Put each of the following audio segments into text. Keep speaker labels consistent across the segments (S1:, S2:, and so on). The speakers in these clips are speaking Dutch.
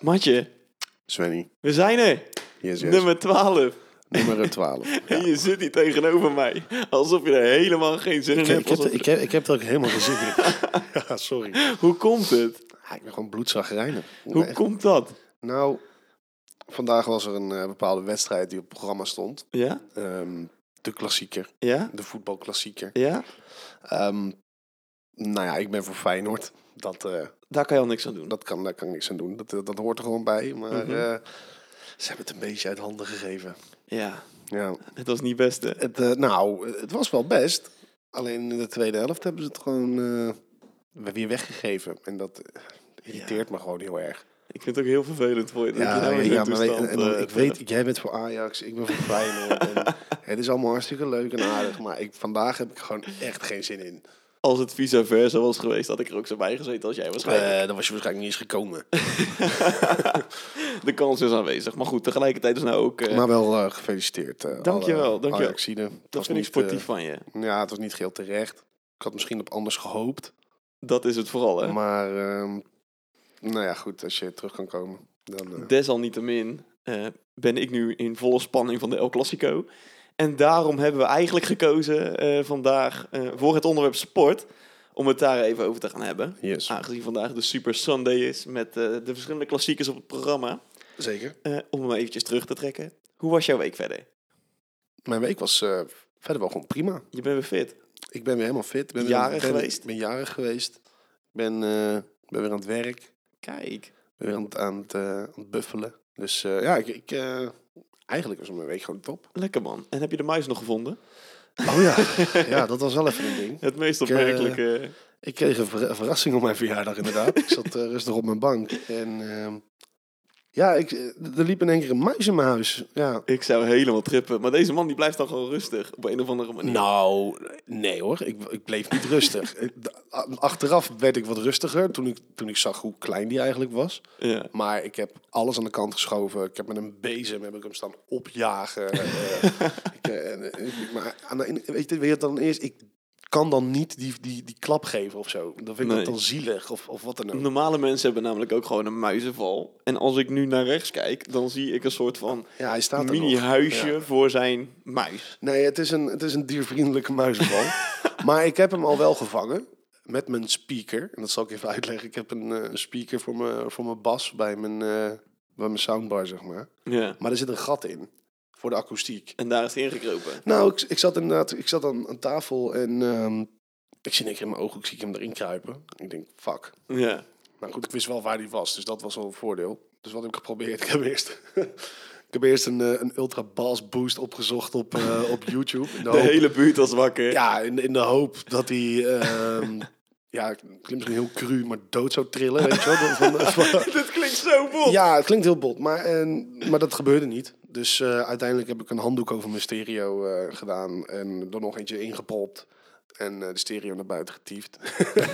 S1: Matje,
S2: Svenny.
S1: we zijn er.
S2: Yes, yes. Nummer...
S1: Nummer 12.
S2: 12.
S1: En je zit hier tegenover mij. Alsof je er helemaal geen zin in
S2: Ik,
S1: hebt.
S2: ik, heb,
S1: alsof-
S2: ik, heb, ik heb het ook helemaal gezien. ja, sorry.
S1: Hoe komt het?
S2: Ja, ik ben gewoon bloedzagrijnig.
S1: Hoe komt dat?
S2: Nou, vandaag was er een eh, bepaalde wedstrijd die op het programma stond.
S1: Ja?
S2: Ehm, de klassieker.
S1: Ja?
S2: De voetbalklassieker.
S1: Ja?
S2: Ehm, nou ja, ik ben voor Feyenoord. Dat, eh,
S1: Daar kan je al niks aan doen.
S2: dat kan, daar kan ik niks aan doen. Dat, eh, dat hoort er gewoon bij. Maar
S1: Mhm.
S2: eh, ze hebben het een beetje uit handen gegeven.
S1: Ja,
S2: Ja.
S1: het was niet best. hè?
S2: Het, eh, nou, het was wel best. Alleen in de tweede helft hebben ze het gewoon eh, weer weggegeven. En dat eh, irriteert me gewoon heel erg.
S1: Ik vind het ook heel vervelend voor je. dat je
S2: Ja,
S1: nou
S2: ja,
S1: in zo'n
S2: maar weet- en,
S1: toestand,
S2: en dan-
S1: eh,
S2: ik weet, jij bent voor Ajax, ik ben voor Feyenoord. en het is allemaal hartstikke leuk en aardig. Maar ik, vandaag heb ik gewoon echt geen zin in.
S1: Als het vice versa was geweest, had ik er ook zo bij gezeten als jij waarschijnlijk.
S2: Eh, dan was je waarschijnlijk niet eens gekomen.
S1: De kans is aanwezig. Maar goed, tegelijkertijd is nou ook... eh,
S2: Maar wel eh, gefeliciteerd. eh,
S1: Dankjewel,
S2: alle
S1: dankjewel.
S2: Ajaxiden. Het
S1: dat
S2: was
S1: vind ik
S2: niet, eh,
S1: sportief van je.
S2: ja, het was niet geheel terecht. Ik had misschien op anders gehoopt.
S1: Dat is het vooral, hè?
S2: Maar, ehm, nou ja, goed, als je terug kan komen, dan... eh,
S1: Desalniettemin eh, ben ik nu in volle spanning van de El Clasico. En daarom hebben we eigenlijk gekozen eh, vandaag eh, voor het onderwerp sport. Om het daar even over te gaan hebben.
S2: Yes,
S1: Aangezien vandaag de Super Sunday is met eh, de verschillende klassiekers op het programma.
S2: zeker.
S1: Eh, om hem eventjes terug te trekken. Hoe was jouw week verder?
S2: Mijn week was eh, verder wel gewoon prima.
S1: Je bent weer fit.
S2: Ik ben weer helemaal fit. Ik Ben weer-
S1: Jarig
S2: ben-
S1: geweest?
S2: Ik ben jarig geweest. Ik ben, eh, ben weer aan het werk.
S1: Kijk.
S2: Ben weer aan het, aan het, eh, aan het buffelen. Dus eh, ja, ik, ik, eh, eigenlijk was mijn week gewoon top.
S1: Lekker man. En heb je de muis nog gevonden?
S2: Oh ja, ja dat was wel even een ding.
S1: Het meest
S2: Ik, eh,
S1: opmerkelijke.
S2: Ik kreeg een, ver- een verrassing op mijn verjaardag inderdaad. Ik zat eh, rustig op mijn bank. En ehm, ja, ik, eh, er liep in één keer een muis in mijn huis. Ja,
S1: Ik zou helemaal trippen. Maar deze man die blijft dan gewoon rustig. Op een of andere manier.
S2: Nou, nee hoor. Ik, ik bleef niet rustig. Eh, d- a- Achteraf werd ik wat rustiger toen ik, toen ik zag hoe klein die eigenlijk was.
S1: Ja.
S2: Maar ik heb alles aan de kant geschoven. Ik heb met een bezem heb ik hem staan opjagen. Eh, ik, eh, en, eh, ik- maar aan de ene- weet je, weet je wat dan eerst? Ik kan dan niet die, die, die klap geven of zo. Dan vind ik
S1: Nee.
S2: dat dan zielig of, of wat dan ook.
S1: Normale mensen hebben namelijk ook gewoon een muizenval. En als ik nu naar rechts kijk, dan zie ik een soort van
S2: Ja, hij staat er nog.
S1: mini-huisje
S2: Ja.
S1: voor zijn muis.
S2: Nee, het is een, het is een diervriendelijke muizenbal. maar ik heb hem al wel gevangen met mijn speaker. En dat zal ik even uitleggen. Ik heb een eh, een speaker voor mijn, voor mijn bas bij mijn, eh, bij mijn soundbar, zeg maar.
S1: Ja.
S2: Maar er zit een gat in voor de akoestiek.
S1: En daar is hij ingekropen.
S2: Nou, ik, ik zat inderdaad ik zat aan, aan tafel en ehm, ik zie een keer in mijn ogen, ik zie hem erin kruipen. Ik denk, fuck.
S1: Ja.
S2: Maar goed, ik wist wel waar die was, dus dat was al een voordeel. Dus wat heb ik geprobeerd? Ik heb eerst, ik heb eerst een, eh, een ultra bass boost opgezocht op, eh, op YouTube. In de
S1: De
S2: hoop-
S1: hele buurt was wakker.
S2: ja, in, in de hoop dat hij... ehm, ja, het klinkt misschien heel cru, maar dood zou trillen, weet je wel. Dat- van- van-
S1: Dit klinkt zo bot.
S2: ja, het klinkt heel bot, maar, en, maar dat gebeurde niet. Dus eh, uiteindelijk heb ik een handdoek over mijn stereo eh, gedaan en er nog eentje ingepropt. En eh, de stereo naar buiten getiefd.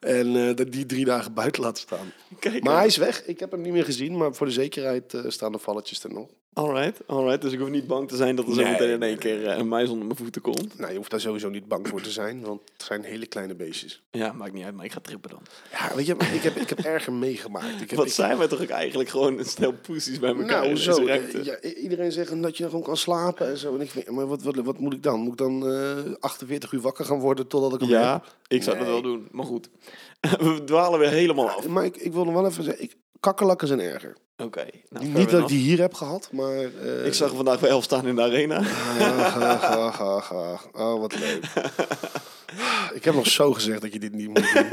S2: en eh, dat die drie dagen buiten laten staan.
S1: Kijk.
S2: Maar hij is weg. Ik heb hem niet meer gezien. Maar voor de zekerheid eh, staan de valletjes er nog.
S1: Alright, alright. Dus ik hoef niet bang te zijn dat er zo
S2: Nee.
S1: meteen in één keer eh, een muis onder mijn voeten komt.
S2: Nou, je hoeft daar sowieso niet bang voor te zijn. Want het zijn hele kleine beestjes.
S1: Ja, maakt niet uit, maar ik ga trippen dan.
S2: Ja, weet je, maar ik heb, ik heb erger meegemaakt. Ik heb,
S1: Wat
S2: ik-
S1: zijn wij toch ook eigenlijk gewoon een stel poesies bij elkaar
S2: nou,
S1: in deze
S2: zo.
S1: ruimte?
S2: eh, Ja, i- iedereen zegt dat je gewoon kan slapen en zo. En ik vind, maar wat, wat, wat moet ik dan? Moet ik dan eh, 48 uur wakker gaan worden totdat ik hem
S1: Ja, ik zou dat
S2: Nee.
S1: wel doen. Maar goed, we dwalen weer helemaal af.
S2: heb? Maar ik, ik wil nog wel even zeggen, ik, kakkerlakken zijn erger.
S1: Oké. nou, fair
S2: niet dat ik
S1: enough.
S2: die hier heb gehad, maar... eh,
S1: Ik zag hem vandaag bij elf staan in de arena.
S2: ah, ah, ah, ah, ah. Oh, wat leuk. ik heb nog zo gezegd dat je dit niet moet doen.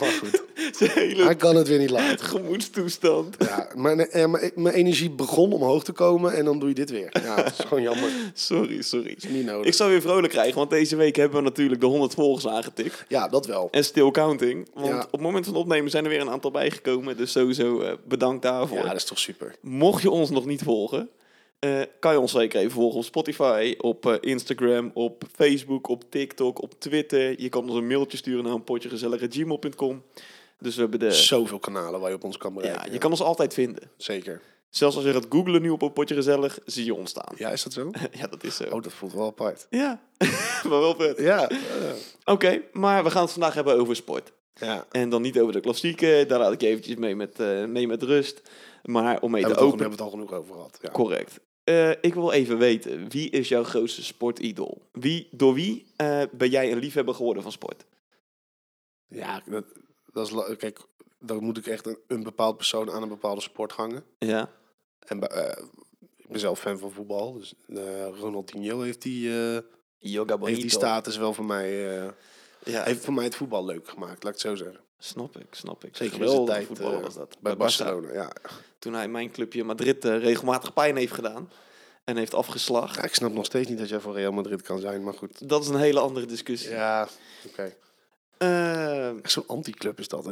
S2: Maar goed,
S1: Zijn hele
S2: hij kan het weer niet laten.
S1: gemoedstoestand.
S2: Ja, mijn, eh, mijn, mijn energie begon omhoog te komen en dan doe je dit weer. Ja, het is gewoon jammer. Het
S1: Sorry, sorry.
S2: is niet nodig.
S1: Ik zou weer vrolijk krijgen, want deze week hebben we natuurlijk de 100 volgers aangetikt.
S2: Ja, dat wel.
S1: En still counting. Want
S2: Ja.
S1: op het moment van opnemen zijn er weer een aantal bijgekomen. Dus sowieso eh, bedankt daarvoor.
S2: Ja, dat is toch super.
S1: Mocht je ons nog niet volgen, eh, kan je ons zeker even volgen op Spotify, op eh, Instagram, op Facebook, op TikTok, op Twitter. Je kan ons een mailtje sturen naar een Dus we hebben de...
S2: Zoveel kanalen waar je op ons kan bereiken.
S1: Ja, je kan ons altijd vinden.
S2: Zeker.
S1: Zelfs als je gaat googlen nu op een potje gezellig, zie je ons staan.
S2: Ja, is dat zo?
S1: Ja, dat is zo.
S2: Oh, dat voelt wel apart.
S1: Ja, maar wel vet.
S2: Ja.
S1: Oké, maar we gaan het vandaag hebben over sport.
S2: Ja.
S1: En dan niet over de klassieke, daar laat ik je eventjes mee met, eh, mee met rust. Maar om mee te
S2: Hebben we, het al, we
S1: openen...
S2: hebben het al genoeg over gehad. Ja.
S1: Correct. Eh, ik wil even weten, wie is jouw grootste sportidool? Wie, door wie eh, ben jij een liefhebber geworden van sport?
S2: Ja, dat, dat is la- kijk, dan moet ik echt een, een bepaald persoon aan een bepaalde sport hangen.
S1: Ja.
S2: En bij- eh, ik ben zelf fan van voetbal, dus eh, Ronaldinho heeft die, eh,
S1: Yoga
S2: heeft die status wel voor mij, eh,
S1: Ja,
S2: heeft voor mij het voetbal leuk gemaakt, laat ik het zo zeggen.
S1: snap ik, snap ik.
S2: Zeker in zijn
S1: Geweldige
S2: tijd,
S1: voetballer
S2: eh,
S1: was dat.
S2: Bij
S1: Barca.
S2: Barcelona, ja.
S1: Toen hij mijn clubje Madrid eh, regelmatig pijn heeft gedaan en heeft afgeslacht.
S2: Ja, Ik snap nog steeds niet dat jij voor Real Madrid kan zijn, maar goed.
S1: Dat is een hele andere discussie.
S2: Ja, oké.
S1: Eh,
S2: Echt zo'n anti-club is dat.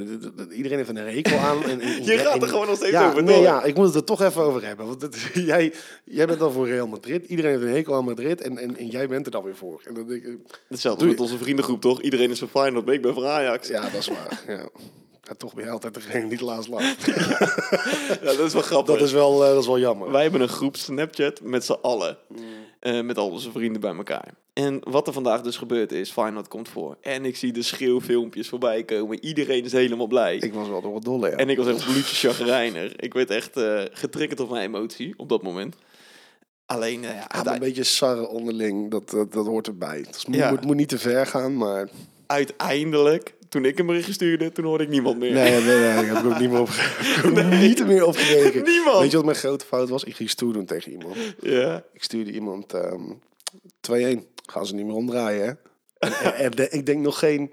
S2: Iedereen heeft een rekel aan. En, en-
S1: je
S2: en-
S1: gaat er
S2: en-
S1: gewoon nog steeds
S2: Ja,
S1: over
S2: nee,
S1: door.
S2: ja, ik moet het er toch even over hebben. Want het- jij, jij bent dan voor Real Madrid. Iedereen heeft een hekel aan Madrid. En, en, en jij bent er dan weer voor. En dan denk ik,
S1: Hetzelfde
S2: Doe
S1: met onze vriendengroep, toch? Iedereen is van Feyenoord, maar ik ben van Ajax.
S2: ja, dat is waar. Ja. Ja, toch ben je altijd degene die het laatst laat.
S1: Ja, dat is wel grappig.
S2: Dat is wel, eh, dat is wel jammer.
S1: Wij hebben een groep Snapchat met z'n allen. Eh, met al onze vrienden bij elkaar. En wat er vandaag dus gebeurd is, Feyenoord komt voor. En ik zie de schreeuwfilmpjes voorbij komen. Iedereen is helemaal blij.
S2: Ik was wel door het dolle, ja.
S1: En ik was echt bloedje chagrijner. Ik werd echt eh, getriggerd op mijn emotie op dat moment. Alleen, eh, ja,
S2: Ja, maar een beetje sarren onderling, dat, dat, dat hoort erbij. Het is- moet,
S1: Ja.
S2: moet, moet niet te ver gaan, maar...
S1: uiteindelijk, toen ik hem bericht stuurde, toen hoorde ik niemand meer.
S2: Nee, nee, nee, daar heb ik ook niet meer op, ik heb er niet meer op gekeken.
S1: Niemand.
S2: Weet je wat mijn grote fout was? Ik ging stoer doen tegen iemand.
S1: Ja.
S2: Ik stuurde iemand ehm 2-1. Gaan ze niet meer omdraaien, hè? En, en- en de- ik denk nog geen,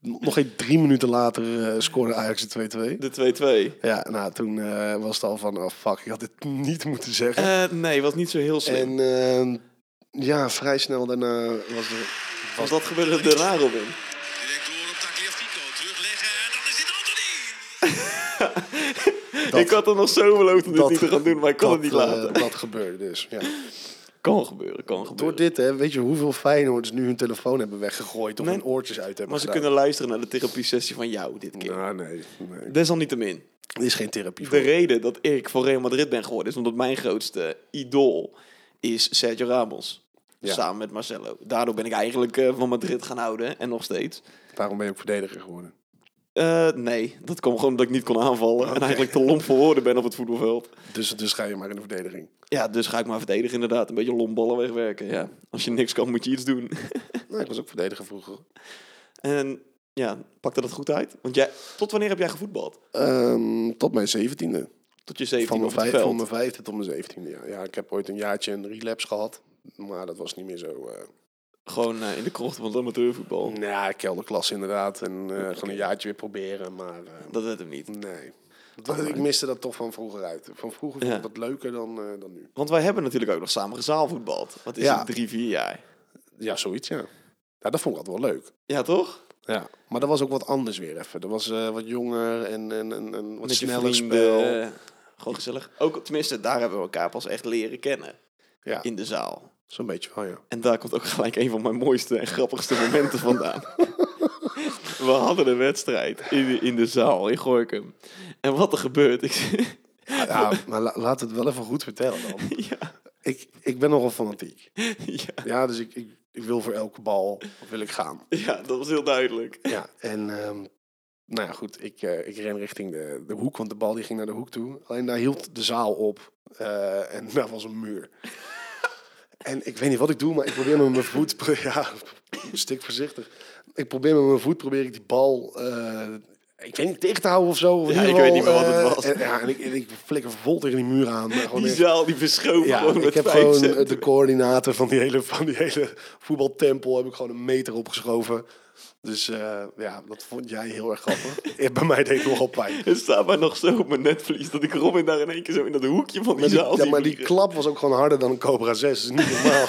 S2: nog geen drie minuten later eh scoorde Ajax de 2-2.
S1: De 2-2.
S2: Ja, nou, toen eh, was het al van, oh fuck, ik had dit niet moeten zeggen.
S1: Eh, nee, was niet zo heel slim.
S2: en ehm, ja, vrij snel daarna was er...
S1: Was dat gebeurde er daarna, Robin?
S3: Direct door op Tagliafico. Terugleggen. En dan is het Anthony.
S2: Dat-
S1: ik had er nog zo beloofd om dit niet te gaan doen, maar ik kon
S2: dat,
S1: het niet
S2: eh,
S1: laten.
S2: dat gebeurde dus, ja.
S1: kan gebeuren, kan
S2: Door
S1: gebeuren.
S2: dit, hè, weet je hoeveel Feyenoorders nu hun telefoon hebben weggegooid of
S1: Nee.
S2: hun oortjes uit hebben
S1: Maar ze
S2: gedaan?
S1: kunnen luisteren naar de therapie-sessie van jou dit keer.
S2: Nou, nee, nee.
S1: Desalniettemin,
S2: Er is geen therapie
S1: de
S2: voor.
S1: reden dat ik voor Real Madrid ben geworden... is omdat mijn grootste idool is Sergio Ramos.
S2: Ja.
S1: Samen met Marcelo. Daardoor ben ik eigenlijk eh, van Madrid gaan houden. En nog steeds.
S2: Daarom ben je ook verdediger geworden.
S1: Eh, nee, dat kwam gewoon omdat ik niet kon aanvallen. En eigenlijk te lomp voor woorden ben op het voetbalveld.
S2: Dus, dus ga je maar in de verdediging.
S1: Ja, dus ga ik maar verdedigen inderdaad. Een beetje lomballen wegwerken, ja. Als je niks kan, moet je iets doen.
S2: Nee, Nou, ik was ook verdediger vroeger.
S1: en ja, pakte dat goed uit? Want jij, tot wanneer heb jij gevoetbald?
S2: Ehm, tot mijn zeventiende.
S1: Tot je
S2: Van
S1: 17
S2: mijn,
S1: op het
S2: vijf, van
S1: veld?
S2: mijn vijfde tot mijn zeventiende. Ja. ja, ik heb ooit een jaartje een relapse gehad. Maar dat was niet meer zo... eh
S1: Gewoon eh, in de krocht van het amateurvoetbal.
S2: nou ja, kelderklas inderdaad. En eh, gewoon een jaartje weer proberen. Maar eh,
S1: Dat werd hem niet.
S2: nee. Dat- ik miste dat toch van vroeger uit. Van vroeger vond ik
S1: Ja.
S2: dat leuker dan, eh, dan nu.
S1: Want wij hebben natuurlijk ook nog samen gezaalvoetbald. Wat is
S2: Ja.
S1: het, drie, vier jaar?
S2: Ja, zoiets, ja. Ja, dat vond ik altijd wel leuk.
S1: Ja, toch?
S2: Ja. Maar dat was ook wat anders weer even. Dat was eh, wat jonger en, en, en, en wat
S1: Met je
S2: sneller
S1: vrienden.
S2: spel.
S1: eh, Gewoon gezellig. Ook, tenminste, daar hebben we elkaar pas echt leren kennen.
S2: Ja.
S1: In de zaal.
S2: Zo'n beetje wel, ja.
S1: En daar komt ook gelijk een van mijn mooiste en grappigste momenten vandaan. We hadden een wedstrijd in de, in de zaal in Gorkum. En wat er gebeurt, ik,
S2: Ja, maar la- laat het wel even goed vertellen dan.
S1: ja,
S2: Ik, ik ben nogal fanatiek.
S1: ja,
S2: Ja, dus ik, ik, ik wil voor elke bal wil ik gaan.
S1: ja, dat was heel duidelijk.
S2: Ja, en ehm, nou ja, goed, ik, eh, ik ren richting de, de hoek, want de bal die ging naar de hoek toe. Alleen daar hield de zaal op eh, en daar was een muur. En ik weet niet wat ik doe, maar ik probeer met mijn voet, pro- ja, stik voorzichtig. Ik probeer met mijn voet, probeer ik die bal, eh, ik weet niet, tegen te houden of zo. Of in
S1: Ja,
S2: ieder
S1: ik weet
S2: geval,
S1: niet meer wat het
S2: eh,
S1: was.
S2: En, ja, en ik, en ik flikker vol tegen die muur aan. Gewoon
S1: Die
S2: echt-
S1: zaal die verschoof
S2: ja,
S1: gewoon
S2: ik
S1: met
S2: heb
S1: vijf
S2: gewoon eh, de
S1: centimeter.
S2: coördinator van die hele, van die hele voetbaltempel heb ik gewoon een meter opgeschoven. Dus eh, ja, dat vond jij heel erg grappig. Eh, Bij mij deed het nogal pijn.
S1: Het staat maar nog zo op mijn netvlies dat ik Robin daar in één keer zo in dat hoekje van die
S2: Maar die,
S1: zaal
S2: ja,
S1: zie
S2: maar die
S1: vliegen.
S2: klap was ook gewoon harder dan een Cobra 6. Dat is niet normaal.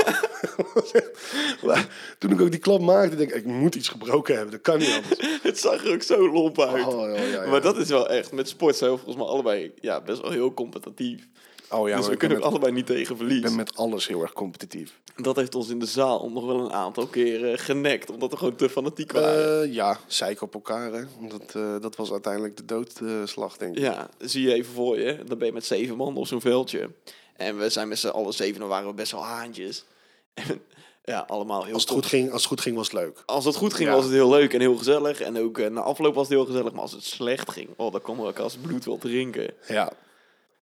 S2: Maar Toen ik ook die klap maakte, denk ik, ik moet iets gebroken hebben. Dat kan niet anders.
S1: Het zag er ook zo lomp uit.
S2: Oh, ja, ja, ja.
S1: Maar dat is wel echt, met sport zijn we volgens mij allebei ja, best wel heel competitief.
S2: Oh ja,
S1: dus we kunnen ook allebei niet tegen verliezen.
S2: ben met alles heel erg competitief.
S1: Dat heeft ons in de zaal nog wel een aantal keer eh, genekt, omdat we gewoon te fanatiek waren.
S2: Eh ja, zeiken op elkaar. Hè. Dat, eh, dat was uiteindelijk de doodslag, denk ik.
S1: ja, zie je even voor je, dan ben je met zeven man op zo'n veldje. En we zijn met z'n allen zeven, dan waren we best wel haantjes. En Ja, allemaal heel
S2: Als het,
S1: top.
S2: goed ging, als het goed ging, was het leuk.
S1: Als het goed ging,
S2: Ja.
S1: was het heel leuk en heel gezellig. En ook eh, na afloop was het heel gezellig. Maar als het slecht ging, oh, dan kon er ook als bloed wel drinken.
S2: Ja.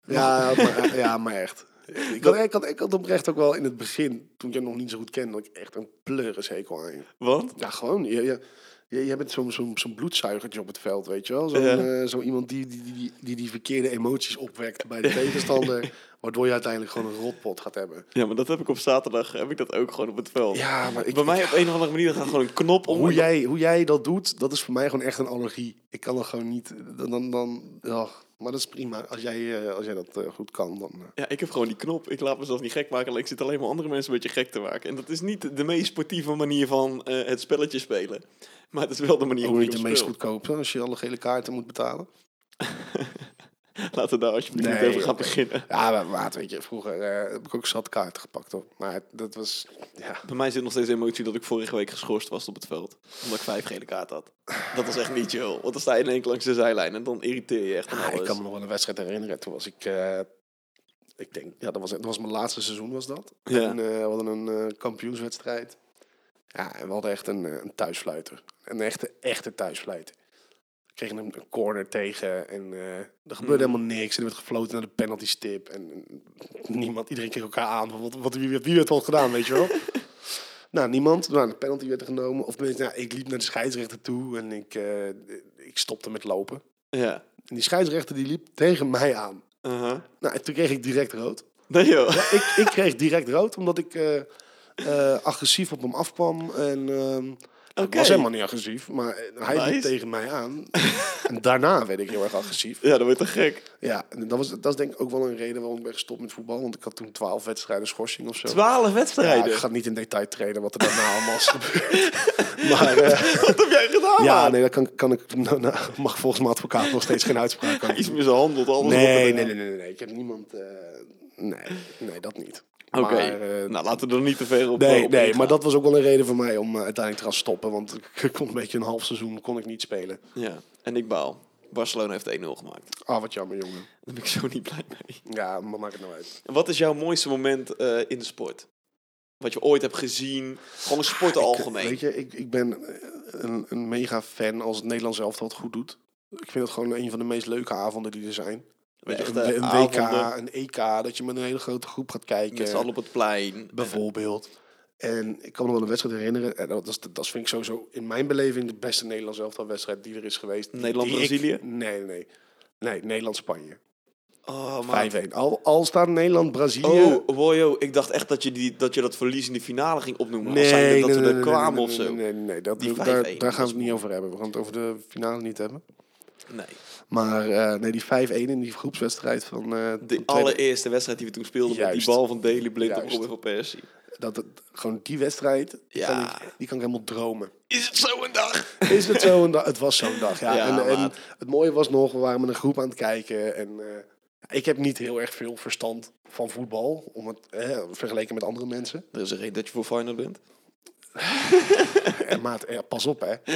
S2: Ja, maar, ja, maar echt. Ik had, ik, had, ik had oprecht ook wel in het begin, toen ik je nog niet zo goed kende, dat ik echt een pleurishekel aan je.
S1: Want?
S2: Ja, gewoon. Je, je, je- jij bent zo'n zo'n zo'n bloedzuigertje op het veld, weet je wel. Zo'n
S1: Ja.
S2: eh, zo iemand die die, die, die, die die verkeerde emoties opwekt bij de tegenstander, waardoor je uiteindelijk gewoon een rotpot gaat hebben.
S1: Ja, maar dat heb ik op zaterdag, heb ik dat ook gewoon op het veld.
S2: Ja, maar ik,
S1: Bij mij op een of andere manier gaat gewoon een knop om.
S2: hoe, jij, hoe jij dat doet, dat is voor mij gewoon echt een allergie. Ik kan er gewoon niet... Dan, dan, dan, ja, maar dat is prima. Als jij, eh, als jij dat eh, goed kan, dan... eh,
S1: Ja, ik heb gewoon die knop. Ik laat mezelf niet gek maken. alleen Ik zit alleen maar andere mensen een beetje gek te maken. En dat is niet de meest sportieve manier van eh, het spelletje spelen. Maar het is wel de manier
S2: Ook
S1: hoe
S2: niet de
S1: je
S2: meest
S1: meest goed.
S2: goedkope als je alle gele kaarten moet betalen.
S1: Laten we daar alsjeblieft niet
S2: Nee,
S1: over gaan
S2: oké.
S1: beginnen.
S2: Ja, maar maat, weet je, vroeger eh, heb ik ook zat kaarten gepakt hoor. Maar het- dat was, ja.
S1: Bij mij zit nog steeds de emotie dat ik vorige week geschorst was op het veld. Omdat ik vijf gele kaart had. Dat was echt niet chill. Want dan sta je in één keer langs de zijlijn en dan irriteer je echt aan
S2: Ah,
S1: alles.
S2: ik kan me nog wel een wedstrijd herinneren. Toen was ik, eh, ik denk, ja, dat was, dat was mijn laatste seizoen was dat.
S1: Ja.
S2: En, eh, we hadden een eh, kampioenswedstrijd. Ja, en we hadden echt een, eh, een thuisfluiter. Een echte, echte thuisfluiter. We kregen een, een corner tegen en eh, er gebeurde
S1: Hmm.
S2: helemaal niks. En er werd gefloten naar de penalty stip. En, en niemand, iedereen keek elkaar aan. van Wat, wat, wie, wie heeft het al gedaan, weet je wel? Nou, niemand. Nou, de penalty werd genomen. Of tenminste, nou, ik liep naar de scheidsrechter toe en ik, eh, ik stopte met lopen.
S1: ja.
S2: En die scheidsrechter die liep tegen mij aan.
S1: Uh-huh.
S2: Nou, en toen kreeg ik direct rood.
S1: Nee joh.
S2: Ik, ik kreeg direct rood, omdat ik eh, eh, agressief op hem afkwam. En ehm ik
S1: Oké.
S2: was helemaal niet agressief, maar eh, hij liep
S1: Nice.
S2: tegen mij aan. en daarna werd ik heel erg agressief.
S1: Ja, dan word je toch gek.
S2: Ja, en dat, was, dat is denk ik ook wel een reden waarom ik ben gestopt met voetbal. Want ik had toen twaalf wedstrijden schorsing of zo.
S1: Twaalf
S2: Ja, ik
S1: wedstrijden.
S2: ga niet in detail treden wat er daarna allemaal is gebeurd. maar eh,
S1: Wat heb jij gedaan
S2: ja,
S1: man?
S2: nee, daar kan, kan ik, nou, nou, mag volgens mijn advocaat nog steeds geen uitspraak over
S1: Iets
S2: doen.
S1: mishandeld, alles wat
S2: Nee,
S1: er-
S2: nee, nee, nee, nee. Ik heb niemand. eh, nee, nee, dat niet.
S1: Oké,
S2: Maar, eh,
S1: nou laten we er niet te ver op eh,
S2: nee,
S1: op
S2: nee,
S1: ingaan.
S2: maar dat was ook wel een reden voor mij om eh, uiteindelijk te gaan stoppen. Want ik ik kon een beetje een half seizoen kon ik niet spelen.
S1: Ja, en ik baal. Barcelona heeft 1-0 gemaakt.
S2: Ah, wat jammer, jongen.
S1: Daar ben ik zo niet blij mee.
S2: Ja, maar maakt het nou uit.
S1: En wat is jouw mooiste moment eh, in de sport? Wat je ooit hebt gezien? Gewoon sporten algemeen.
S2: Weet je, ik, ik ben eh, een, een mega fan als het Nederlands elftal het goed doet. Ik vind het gewoon een van de meest leuke avonden die er zijn. Weet je,
S1: Echt,
S2: een,
S1: eh,
S2: een WK,
S1: avonden.
S2: een EK, dat je met een hele grote groep gaat kijken.
S1: Met z'n allen op het plein.
S2: bijvoorbeeld. En ik kan me wel een wedstrijd herinneren. En dat, is, dat vind ik sowieso in mijn beleving de beste Nederlands elftalwedstrijd die er is geweest. Die-
S1: Nederland-Brazilië?
S2: die ik- Nee, nee. Nee, Nederland-Spanje.
S1: Oh, maar...
S2: 5-1. Al, al staat Nederland-Brazilië...
S1: Oh, wojo, ik dacht echt dat je, die, dat je dat verlies in de finale ging opnoemen. als zijnde dat we er kwamen
S2: nee,
S1: of zo.
S2: Nee, nee, nee, nee, dat,
S1: Die
S2: daar,
S1: 5-1,
S2: daar gaan
S1: dat
S2: we het niet over hebben. We gaan het over de finale niet hebben.
S1: Nee.
S2: Maar eh, nee, die 5-1 in die groepswedstrijd van... eh, van
S1: De
S2: tweede-
S1: allereerste wedstrijd die we toen speelden met
S2: Juist.
S1: die bal van Daley Blind op
S2: Juist.
S1: Robin van Persie.
S2: dat, het- gewoon die wedstrijd, die
S1: Ja.
S2: kan ik, die kan ik helemaal dromen.
S1: Is het zo een dag?
S2: Is het zo'n dag? Het was zo'n dag, ja.
S1: Ja,
S2: en, en
S1: maat.
S2: het mooie was nog, we waren met een groep aan het kijken. En eh, ik heb niet heel erg veel verstand van voetbal, om het, eh, vergeleken met andere mensen.
S1: Er is er één dat je voor final bent.
S2: En maat, eh, pas op, hè.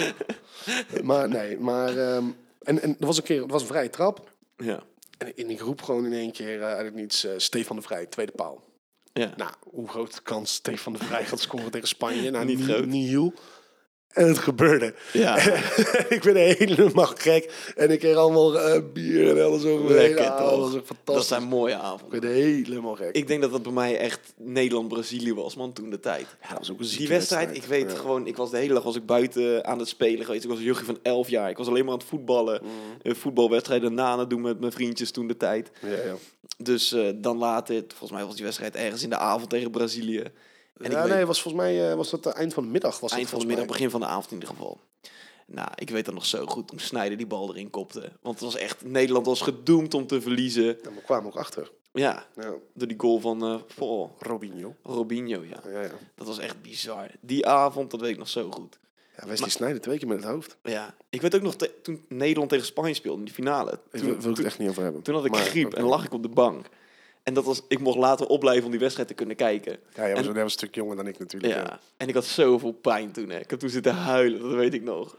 S2: maar nee, maar... ehm, en, en er was een keer, het was een vrije trap.
S1: Ja.
S2: En, en ik roep gewoon in één keer eh, uit het niets, eh, Stefan de Vrij, tweede paal.
S1: Ja.
S2: Nou, hoe groot de kans Stefan de Vrij gaat scoren tegen Spanje? Nou,
S1: Niet
S2: niet
S1: groot.
S2: Niet heel. En het gebeurde.
S1: Ja.
S2: ik ben helemaal gek. En ik kreeg allemaal eh, bier en alles over me heen.
S1: Lekker
S2: Ah,
S1: toch?
S2: Dat was echt fantastisch.
S1: Nou, Dat zijn mooie avonden.
S2: Ik ben helemaal gek.
S1: Ik denk dat dat bij mij echt Nederland-Brazilië was, man, toen de tijd.
S2: ja, dat was ook een zieke
S1: Die wedstrijd, ik weet
S2: Ja.
S1: gewoon, ik was de hele dag was ik buiten aan het spelen geweest. Ik was een jochie van 11 jaar. Ik was alleen maar aan het voetballen.
S2: Mm.
S1: Eh, voetbalwedstrijden na aan het doen met mijn vriendjes toen de tijd.
S2: Ja, ja.
S1: Dus eh, dan later, volgens mij was die wedstrijd ergens in de avond tegen Brazilië. En
S2: ja
S1: ik
S2: nee,
S1: weet,
S2: was volgens mij eh, was dat het eind van de middag. Was
S1: eind
S2: het,
S1: van de middag,
S2: volgens mij.
S1: begin van de avond in ieder geval. Nou, ik weet dat nog zo goed, toen Snijder die bal erin kopte. Want het was echt, Nederland was gedoemd om te verliezen.
S2: Ja, maar we kwamen ook achter.
S1: Ja,
S2: Ja,
S1: door die goal van eh oh,
S2: Robinho.
S1: Robinho, ja.
S2: Ja, ja. ja
S1: Dat was echt bizar. Die avond, dat weet ik nog zo goed.
S2: Wesley Sneijder twee keer met het hoofd.
S1: Ja, ik weet ook nog te- toen Nederland tegen Spanje speelde in die finale.
S2: Ik
S1: Toen,
S2: wil, wil ik
S1: toen,
S2: het echt niet over hebben.
S1: toen had ik
S2: Maar-
S1: griep en lag ik op de bank. En dat was, ik mocht later opblijven om die wedstrijd te kunnen kijken.
S2: Ja, jij was,
S1: En-
S2: jij was een stuk jonger dan ik natuurlijk. ja.
S1: Ja. En ik had zoveel pijn toen. Hè. Ik heb toen zitten huilen, dat weet ik nog.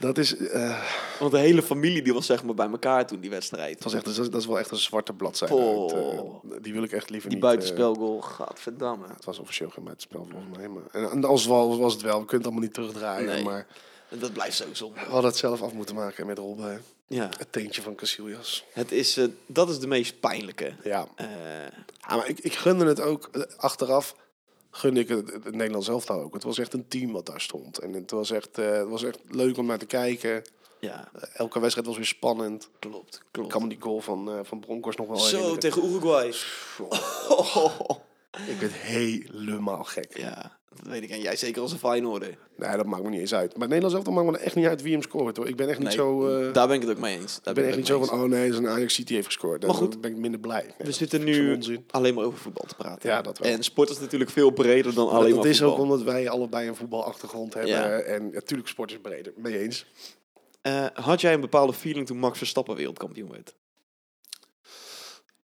S2: Dat is, eh,
S1: Want de hele familie die was zeg maar bij elkaar toen die wedstrijd.
S2: het was echt, dat, is, dat is wel echt een zwarte bladzijde.
S1: Oh.
S2: Het, eh, die wil ik echt liever
S1: die
S2: niet. eh,
S1: buitenspelgoal, gadverdamme.
S2: het was officieel geen buitenspel volgens mij. Maar, en, en als wel was het wel, we kunnen het allemaal niet terugdraaien.
S1: Nee.
S2: Maar
S1: En dat blijft zo
S2: we
S1: zonde.
S2: hadden het zelf af moeten maken met Robben.
S1: Ja,
S2: Het teentje van Casillas.
S1: het is, eh, dat is de meest pijnlijke.
S2: Ja,
S1: Eh,
S2: Ja, Ah, maar ik, ik gunde het ook eh, achteraf. Gunde ik het, het Nederlands elftal ook. Het was echt een team wat daar stond. En het was echt, eh, het was echt leuk om naar te kijken.
S1: ja,
S2: Elke wedstrijd was weer spannend.
S1: klopt,
S2: Ik kan
S1: klopt.
S2: me die goal van, eh van Bronkhorst nog wel
S1: Zo,
S2: herinneren.
S1: tegen Uruguay. Oh.
S2: Ik werd helemaal gek.
S1: Ja, dat weet ik. En jij zeker als een Feyenoorder.
S2: Nee, dat maakt me niet eens uit. Maar het Nederlands elftal maakt me echt niet uit wie hem scoort. Hoor. Ik ben echt niet
S1: Nee,
S2: zo... eh,
S1: daar ben ik het ook mee eens. Daar
S2: ik ben echt
S1: ik
S2: niet
S1: het
S2: zo
S1: mee
S2: van, oh nee, zijn Ajax City heeft gescoord.
S1: Maar goed,
S2: Dan ben ik minder blij. Nee,
S1: We
S2: dat
S1: zitten
S2: vind ik zo'n
S1: nu
S2: onzin.
S1: alleen maar over voetbal te praten.
S2: Ja, dat wel.
S1: En sport is natuurlijk veel breder dan alleen
S2: dat
S1: maar
S2: is
S1: voetbal.
S2: ook omdat wij allebei een voetbalachtergrond hebben.
S1: Ja.
S2: En natuurlijk, sport is breder. Mee eens.
S1: Eh, had jij een bepaalde feeling toen Max Verstappen wereldkampioen werd?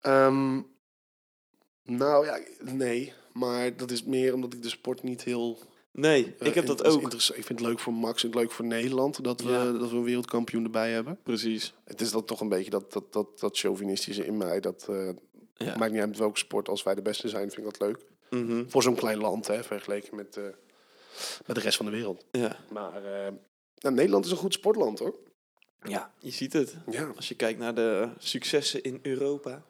S2: Ehm, nou ja, nee. Maar dat is meer omdat ik de sport niet heel...
S1: Nee,
S2: eh,
S1: ik heb
S2: in-
S1: dat
S2: als
S1: ook.
S2: interesse- Ik vind het leuk voor Max en het leuk voor Nederland dat we,
S1: Ja.
S2: dat we een wereldkampioen erbij hebben.
S1: Precies.
S2: Het is dan toch een beetje dat, dat, dat, dat chauvinistische in mij. Dat eh,
S1: Ja.
S2: maakt niet uit met welke sport. Als wij de beste zijn, vind ik dat leuk.
S1: Mhm,
S2: Voor zo'n klein land, hè, vergeleken met, eh, met de rest van de wereld.
S1: ja.
S2: Maar eh, nou, Nederland is een goed sportland, hoor.
S1: ja, je ziet het.
S2: Ja.
S1: Als je kijkt naar de successen in Europa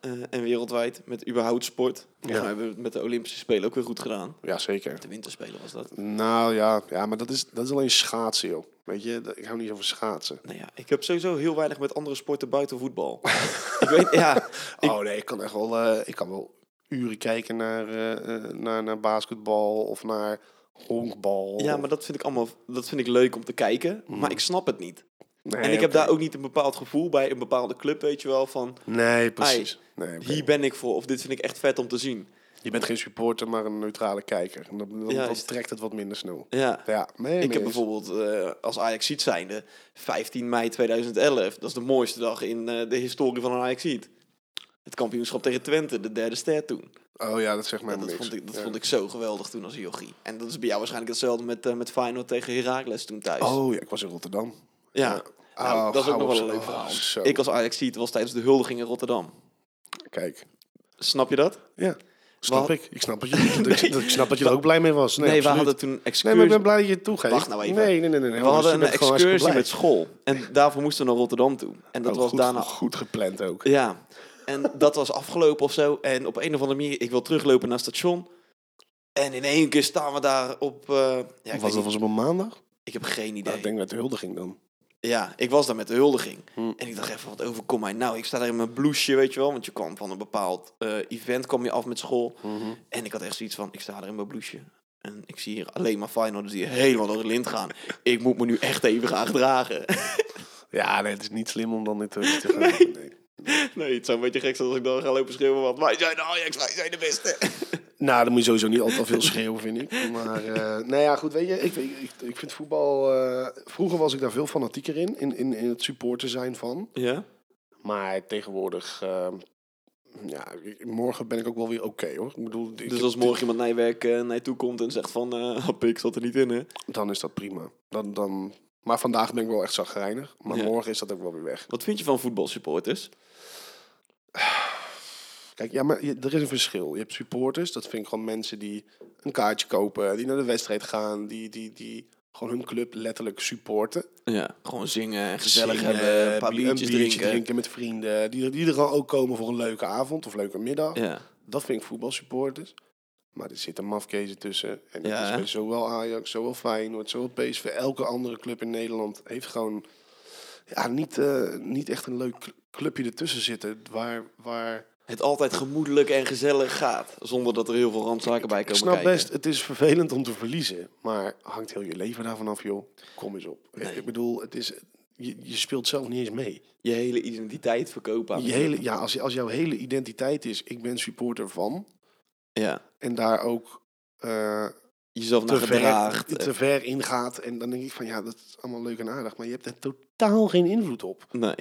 S1: eh, en wereldwijd met überhaupt sport. Volgens
S2: Ja.
S1: mij hebben we het met de Olympische Spelen ook weer goed gedaan.
S2: Ja, zeker.
S1: De Winterspelen was dat.
S2: Nou ja, ja maar dat is, dat is alleen schaatsen, joh. Weet je, dat- ik hou niet zo van schaatsen.
S1: Nou ja, ik heb sowieso heel weinig met andere sporten buiten voetbal. ik weet, ja, Ik-
S2: Oh nee, ik kan echt wel, eh, ik kan wel uren kijken naar, eh, eh, naar, naar basketbal of naar honkbal.
S1: ja, maar dat vind ik allemaal dat vind ik leuk om te kijken. Maar ik snap het niet.
S2: Mhm. nee,
S1: en ik heb
S2: oké.
S1: daar ook niet een bepaald gevoel bij een bepaalde club, weet je wel. Van
S2: Nee, precies. Nee, oké.
S1: hier ben ik voor of dit vind ik echt vet om te zien.
S2: Je bent geen supporter, maar een neutrale kijker. En dan, dan,
S1: Ja,
S2: dan
S1: is-
S2: trekt het wat minder snel.
S1: Ja.
S2: Ja, nee,
S1: Ik
S2: nee,
S1: heb
S2: eens.
S1: bijvoorbeeld eh, als ajax zijnde 15 mei 2011. Dat is de mooiste dag in eh, de historie van een ajax Het kampioenschap tegen Twente, de derde ster toen.
S2: Oh ja, dat zegt mij
S1: Dat,
S2: niks.
S1: vond, ik, dat
S2: Ja.
S1: vond ik zo geweldig toen als jochie. En dat is bij jou waarschijnlijk hetzelfde met, eh, met Feyenoord tegen Heracles toen thuis.
S2: Oh ja, ik was in Rotterdam.
S1: ja.
S2: ja.
S1: Nou,
S2: Oh,
S1: dat is ook nog wel
S2: gauw
S1: een
S2: op-
S1: leuk
S2: oh,
S1: verhaal.
S2: zo.
S1: ik als ajax was tijdens de huldiging in Rotterdam.
S2: Kijk,
S1: Snap je dat?
S2: ja. Snap
S1: Wat?
S2: ik. Ik snap dat je, dat je- dat ik snap dat je er ook blij mee was. Nee,
S1: Nee, we
S2: absoluut.
S1: hadden toen excursie.
S2: Nee, maar ik ben blij dat je het toegeeft.
S1: Wacht nou even.
S2: Nee, nee, nee. nee,
S1: we
S2: hoor, dus
S1: hadden
S2: je
S1: een
S2: bent gewoon hartstikke
S1: excursie
S2: blij.
S1: met school. En daarvoor moesten we naar Rotterdam toe. En dat
S2: Oh,
S1: was
S2: goed,
S1: daarna
S2: goed gepland ook.
S1: Ja, en dat was afgelopen of zo. En op een of andere manier, ik wil teruglopen naar het station. En in één keer staan we daar op... eh, ja, ik,
S2: was
S1: weet
S2: dat
S1: niet,
S2: was op een maandag?
S1: ik heb geen idee.
S2: Nou, ik denk met de huldiging dan.
S1: Ja, ik was daar met de huldiging.
S2: Hm.
S1: En ik dacht even, wat overkomt mij nou? Ik sta daar in mijn blouseje, weet je wel. Want je kwam van een bepaald eh, event, kwam je af met school. En ik had echt zoiets van, ik sta daar in mijn blouseje. En ik zie hier alleen maar Feyenoorders die helemaal door de lint gaan. Ik moet me nu echt even gaan gedragen.
S2: Ja, nee, het is niet slim om dan dit terug te gaan. Nee.
S1: nee, het zou een beetje gek zijn als ik dan ga lopen schreeuwen. Want wij zijn de Ajax, wij zijn de beste.
S2: Nou, dan moet je sowieso niet al te veel schreeuwen, vind ik. Maar, eh nou ja, goed, weet je, ik, ik, ik, ik vind voetbal... eh, vroeger was ik daar veel fanatieker in, in, in, in het supporter zijn van.
S1: ja?
S2: Maar tegenwoordig... eh, ja, ik- morgen ben ik ook wel weer oké, hoor. Ik bedoel, ik
S1: Dus
S2: heb-
S1: als morgen iemand naar je werk eh, naar je toe komt en zegt van... eh hap, ik zat er niet in, hè?
S2: Dan is dat prima. Dan, dan, maar vandaag ben ik wel echt zagrijnig. Maar
S1: Ja.
S2: morgen is dat ook wel weer weg.
S1: Wat vind je van voetbalsupporters?
S2: Kijk, ja, maar je- er is een verschil. Je hebt supporters, dat vind ik gewoon mensen die een kaartje kopen, die naar de wedstrijd gaan, die, die, die gewoon hun club letterlijk supporten.
S1: Ja. Gewoon zingen en gezellig
S2: Zingen,
S1: hebben, een paar
S2: bi-
S1: biertjes drinken.
S2: met vrienden, die, die er gewoon ook komen voor een leuke avond of leuke middag.
S1: Ja.
S2: Dat vind ik voetbalsupporters. Maar er zitten mafkezen tussen. En dat
S1: Ja,
S2: is
S1: hè?
S2: bij zowel Ajax, zowel Feyenoord, zowel PSV. Elke andere club in Nederland heeft gewoon ja, niet, eh, niet echt een leuk cl- clubje ertussen zitten. Waar, waar
S1: Het altijd gemoedelijk en gezellig gaat. Zonder dat er heel veel randzaken bij
S2: Ik
S1: komen
S2: snap
S1: kijken.
S2: best, het is vervelend om te verliezen. Maar hangt heel je leven daarvan af, joh. Kom eens op.
S1: Nee.
S2: Ik bedoel, het is, je, je speelt zelf niet eens mee.
S1: Je hele identiteit verkopen. aan
S2: Je
S1: de
S2: hele, ja, als, je- als jouw hele identiteit is, ik ben supporter van.
S1: Ja.
S2: En daar ook eh,
S1: Jezelf naar
S2: te, ver,
S1: gedraagt.
S2: te ver in gaat. En dan denk ik van, ja, dat is allemaal leuk en aardig. Maar je hebt er totaal geen invloed op.
S1: Nee.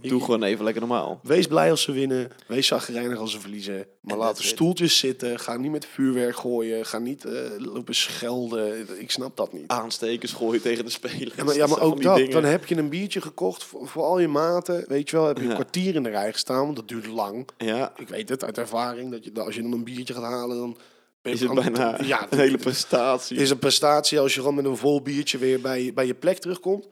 S1: Doe gewoon even lekker normaal.
S2: Wees blij als ze winnen. Wees zagrijnig als ze verliezen. Maar
S1: En
S2: laat
S1: that's
S2: de
S1: it.
S2: stoeltjes zitten. Ga niet met vuurwerk gooien. Ga niet eh, lopen schelden. Ik snap dat niet.
S1: Aanstekers gooien tegen de spelers.
S2: Ja, maar, ja,
S1: Dat zijn
S2: maar
S1: van
S2: ook
S1: die
S2: dat.
S1: dingen.
S2: Dan heb je een biertje gekocht voor, voor al je maten. Weet je wel, heb je een
S1: Ja.
S2: kwartier in de rij gestaan. Want dat duurt lang.
S1: Ja,
S2: Ik weet het uit ervaring. Dat je, dat als je dan een biertje gaat halen, dan... ben je
S1: is het
S2: aan-
S1: bijna
S2: Ja,
S1: een hele prestatie.
S2: is een prestatie als je gewoon met een vol biertje weer bij, je- bij je plek terugkomt.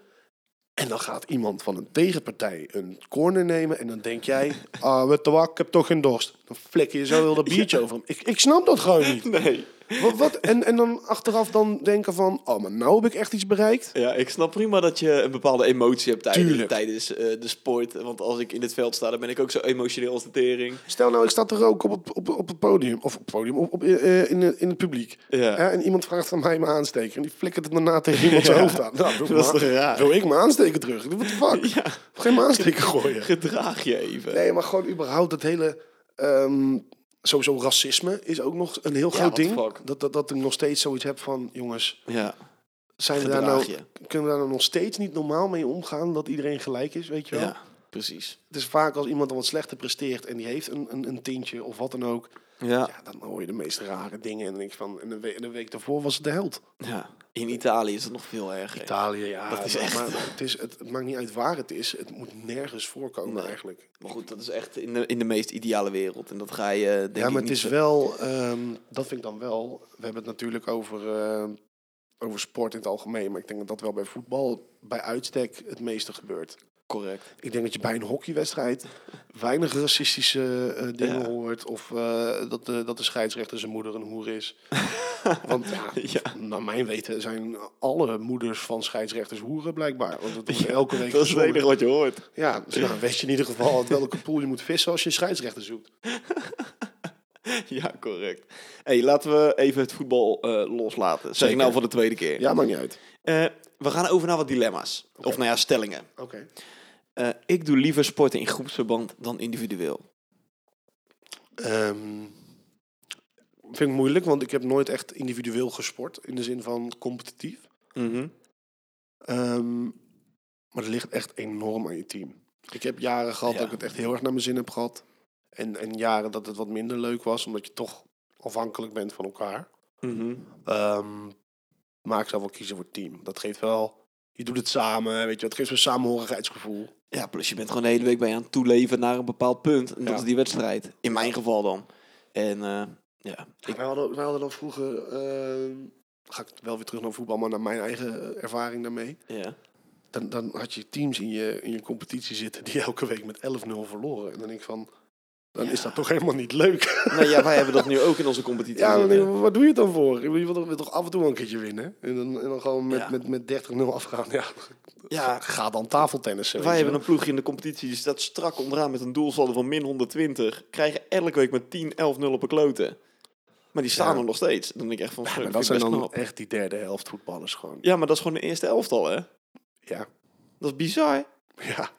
S2: En dan gaat iemand van een tegenpartij een corner nemen. En dan denk jij, ah, wat de wak, ik heb toch geen dorst. Dan flikker je zo heel dat biertje over hem. Ik, ik snap dat gewoon niet.
S1: Nee.
S2: Wat, wat? En, en dan achteraf dan denken van, oh, maar nou heb ik echt iets bereikt.
S1: Ja, ik snap prima dat je een bepaalde emotie hebt tijdens,
S2: Tuurlijk.
S1: tijdens eh, de sport. Want als ik in het veld sta, dan ben ik ook zo emotioneel als de tering.
S2: Stel nou, ik sta te roken op het, op, op het podium. Of op het podium, op, op, eh, in, het- in het publiek.
S1: Ja.
S2: Eh, en iemand vraagt aan mij mijn aansteken. En die flikkert het daarna tegen iemand zijn hoofd aan. Nou, doe
S1: Dat is
S2: maar.
S1: toch raar?
S2: Wil ik mijn aansteken terug? What the fuck?
S1: Ja.
S2: Geen mijn aansteken gooien.
S1: Gedraag je even.
S2: Nee, maar gewoon überhaupt dat hele... ehm, sowieso racisme is ook nog een heel
S1: Ja,
S2: groot
S1: what the
S2: ding.
S1: fuck?
S2: Dat, dat, dat ik nog steeds zoiets heb van... Jongens,
S1: Ja.
S2: zijn we daar
S1: Gedraag
S2: nou,
S1: je.
S2: kunnen we daar nou nog steeds niet normaal mee omgaan... dat iedereen gelijk is, weet je wel?
S1: ja, precies.
S2: Het is vaak als iemand dan wat slechter presteert... en die heeft een, een, een tintje of wat dan ook...
S1: Ja.
S2: Ja, dan hoor je de meest rare dingen. En dan denk ik van... En een week, en een week daarvoor was het de held.
S1: ja. In Italië is het nog veel erger.
S2: Italië, ja.
S1: Dat is
S2: maar-
S1: echt-
S2: Maar, het, is, het, het maakt niet uit waar het is. Het moet nergens voorkomen
S1: Nee.
S2: eigenlijk.
S1: Maar goed, dat is echt in de, in de meest ideale wereld. En dat ga je, eh, denk
S2: ja, maar
S1: ik,
S2: het is
S1: niet-
S2: wel, ehm, dat vind ik dan wel. We hebben het natuurlijk over, ehm, over sport in het algemeen. Maar ik denk dat dat wel bij voetbal bij uitstek het meeste gebeurt.
S1: correct.
S2: Ik denk dat je bij een hockeywedstrijd weinig racistische eh, dingen
S1: Ja.
S2: hoort. Of eh, dat, de, dat de scheidsrechter zijn moeder een hoer is. Want ja,
S1: Ja.
S2: naar mijn weten zijn alle moeders van scheidsrechters hoeren blijkbaar. Want dat wordt elke week
S1: Dat is het
S2: gezongen.
S1: enige wat je hoort.
S2: Ja, dus nou, weet je in ieder geval uit welke pool je moet vissen als je een scheidsrechter zoekt.
S1: Ja, correct. hey, laten we even het voetbal eh, loslaten. Zeg ik
S2: Zeker.
S1: nou voor de tweede keer.
S2: Ja, maakt niet uit.
S1: Eh, we gaan over naar wat dilemma's. Of nou ja, stellingen.
S2: Oké.
S1: Eh, ik doe liever sporten in groepsverband dan individueel.
S2: Ehm, vind ik moeilijk, want ik heb nooit echt individueel gesport. In de zin van competitief. Mhm. Ehm, maar het ligt echt enorm aan je team. Ik heb jaren gehad
S1: Ja.
S2: dat ik het echt heel erg naar mijn zin heb gehad. En, en jaren dat het wat minder leuk was, omdat je toch afhankelijk bent van elkaar.
S1: Mhm.
S2: Ehm, maar ik zou wel kiezen voor team. Dat geeft wel... Je doet het samen, weet je. Het geeft een samenhorigheidsgevoel.
S1: Ja, plus je bent gewoon de hele week bij je aan het toeleven naar een bepaald punt. En dat
S2: Ja.
S1: is die wedstrijd. In mijn geval dan. En eh, ja, ik,
S2: Wij, hadden, wij hadden dan vroeger... ehm, ga ik wel weer terug naar voetbal, maar naar mijn eigen eh, ervaring daarmee.
S1: ja.
S2: dan, dan had je teams in je, in je competitie zitten die elke week met 11-0 verloren. En dan denk ik van, dan is dat toch helemaal niet leuk.
S1: Nou ja, wij hebben dat nu ook in onze competitie.
S2: ja, dan
S1: zitten.
S2: denk ik, wat doe je het dan voor? Je wil toch, wil toch af en toe wel een keertje winnen? En dan, en dan gewoon met,
S1: Ja.
S2: met, met 30-0 afgaan. Ja,
S1: ja
S2: ga dan tafeltennissen.
S1: wij
S2: weet je
S1: hebben een ploegje in de competitie die staat strak onderaan met een doelsaldo van min 120. Krijgen elke week met 10, 11, 0 op een kloten. Maar die staan
S2: Ja.
S1: er nog steeds. Dan denk ik echt van,
S2: wel.
S1: ja,
S2: Ja, maar dat zijn dan echt die derde helft voetballers gewoon.
S1: Ja, maar dat is gewoon de eerste elftal, hè?
S2: Ja,
S1: Dat is bizar.
S2: ja.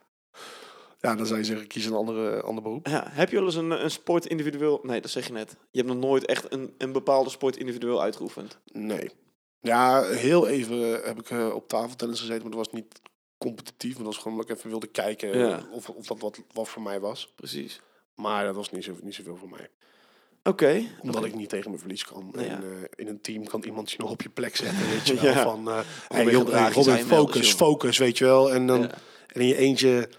S2: Ja, dan zou je zeggen, kies een andere, ander beroep.
S1: Ja, heb je wel eens een, een sport individueel... Nee, dat zeg je net. Je hebt nog nooit echt een, een bepaalde sport individueel uitgeoefend.
S2: Nee. Ja, heel even heb ik eh, op tafeltennis gezeten, maar dat was niet competitief. Maar dat was gewoon omdat ik even wilde kijken eh,
S1: Ja.
S2: of, of dat wat, wat voor mij was.
S1: Precies.
S2: Maar dat was niet, zo, niet zoveel voor mij.
S1: Oké.
S2: Omdat
S1: Oké.
S2: ik niet tegen mijn verlies kan.
S1: Nou ja.
S2: En eh, in een team kan iemand je nog op je plek zetten, weet je wel.
S1: Ja.
S2: Van, eh hey,
S1: je
S2: joh,
S1: gedrag
S2: hey,
S1: je
S2: Robin,
S1: zijn wel,
S2: focus,
S1: joh.
S2: focus, weet je wel. En dan
S1: Ja.
S2: en in je eentje...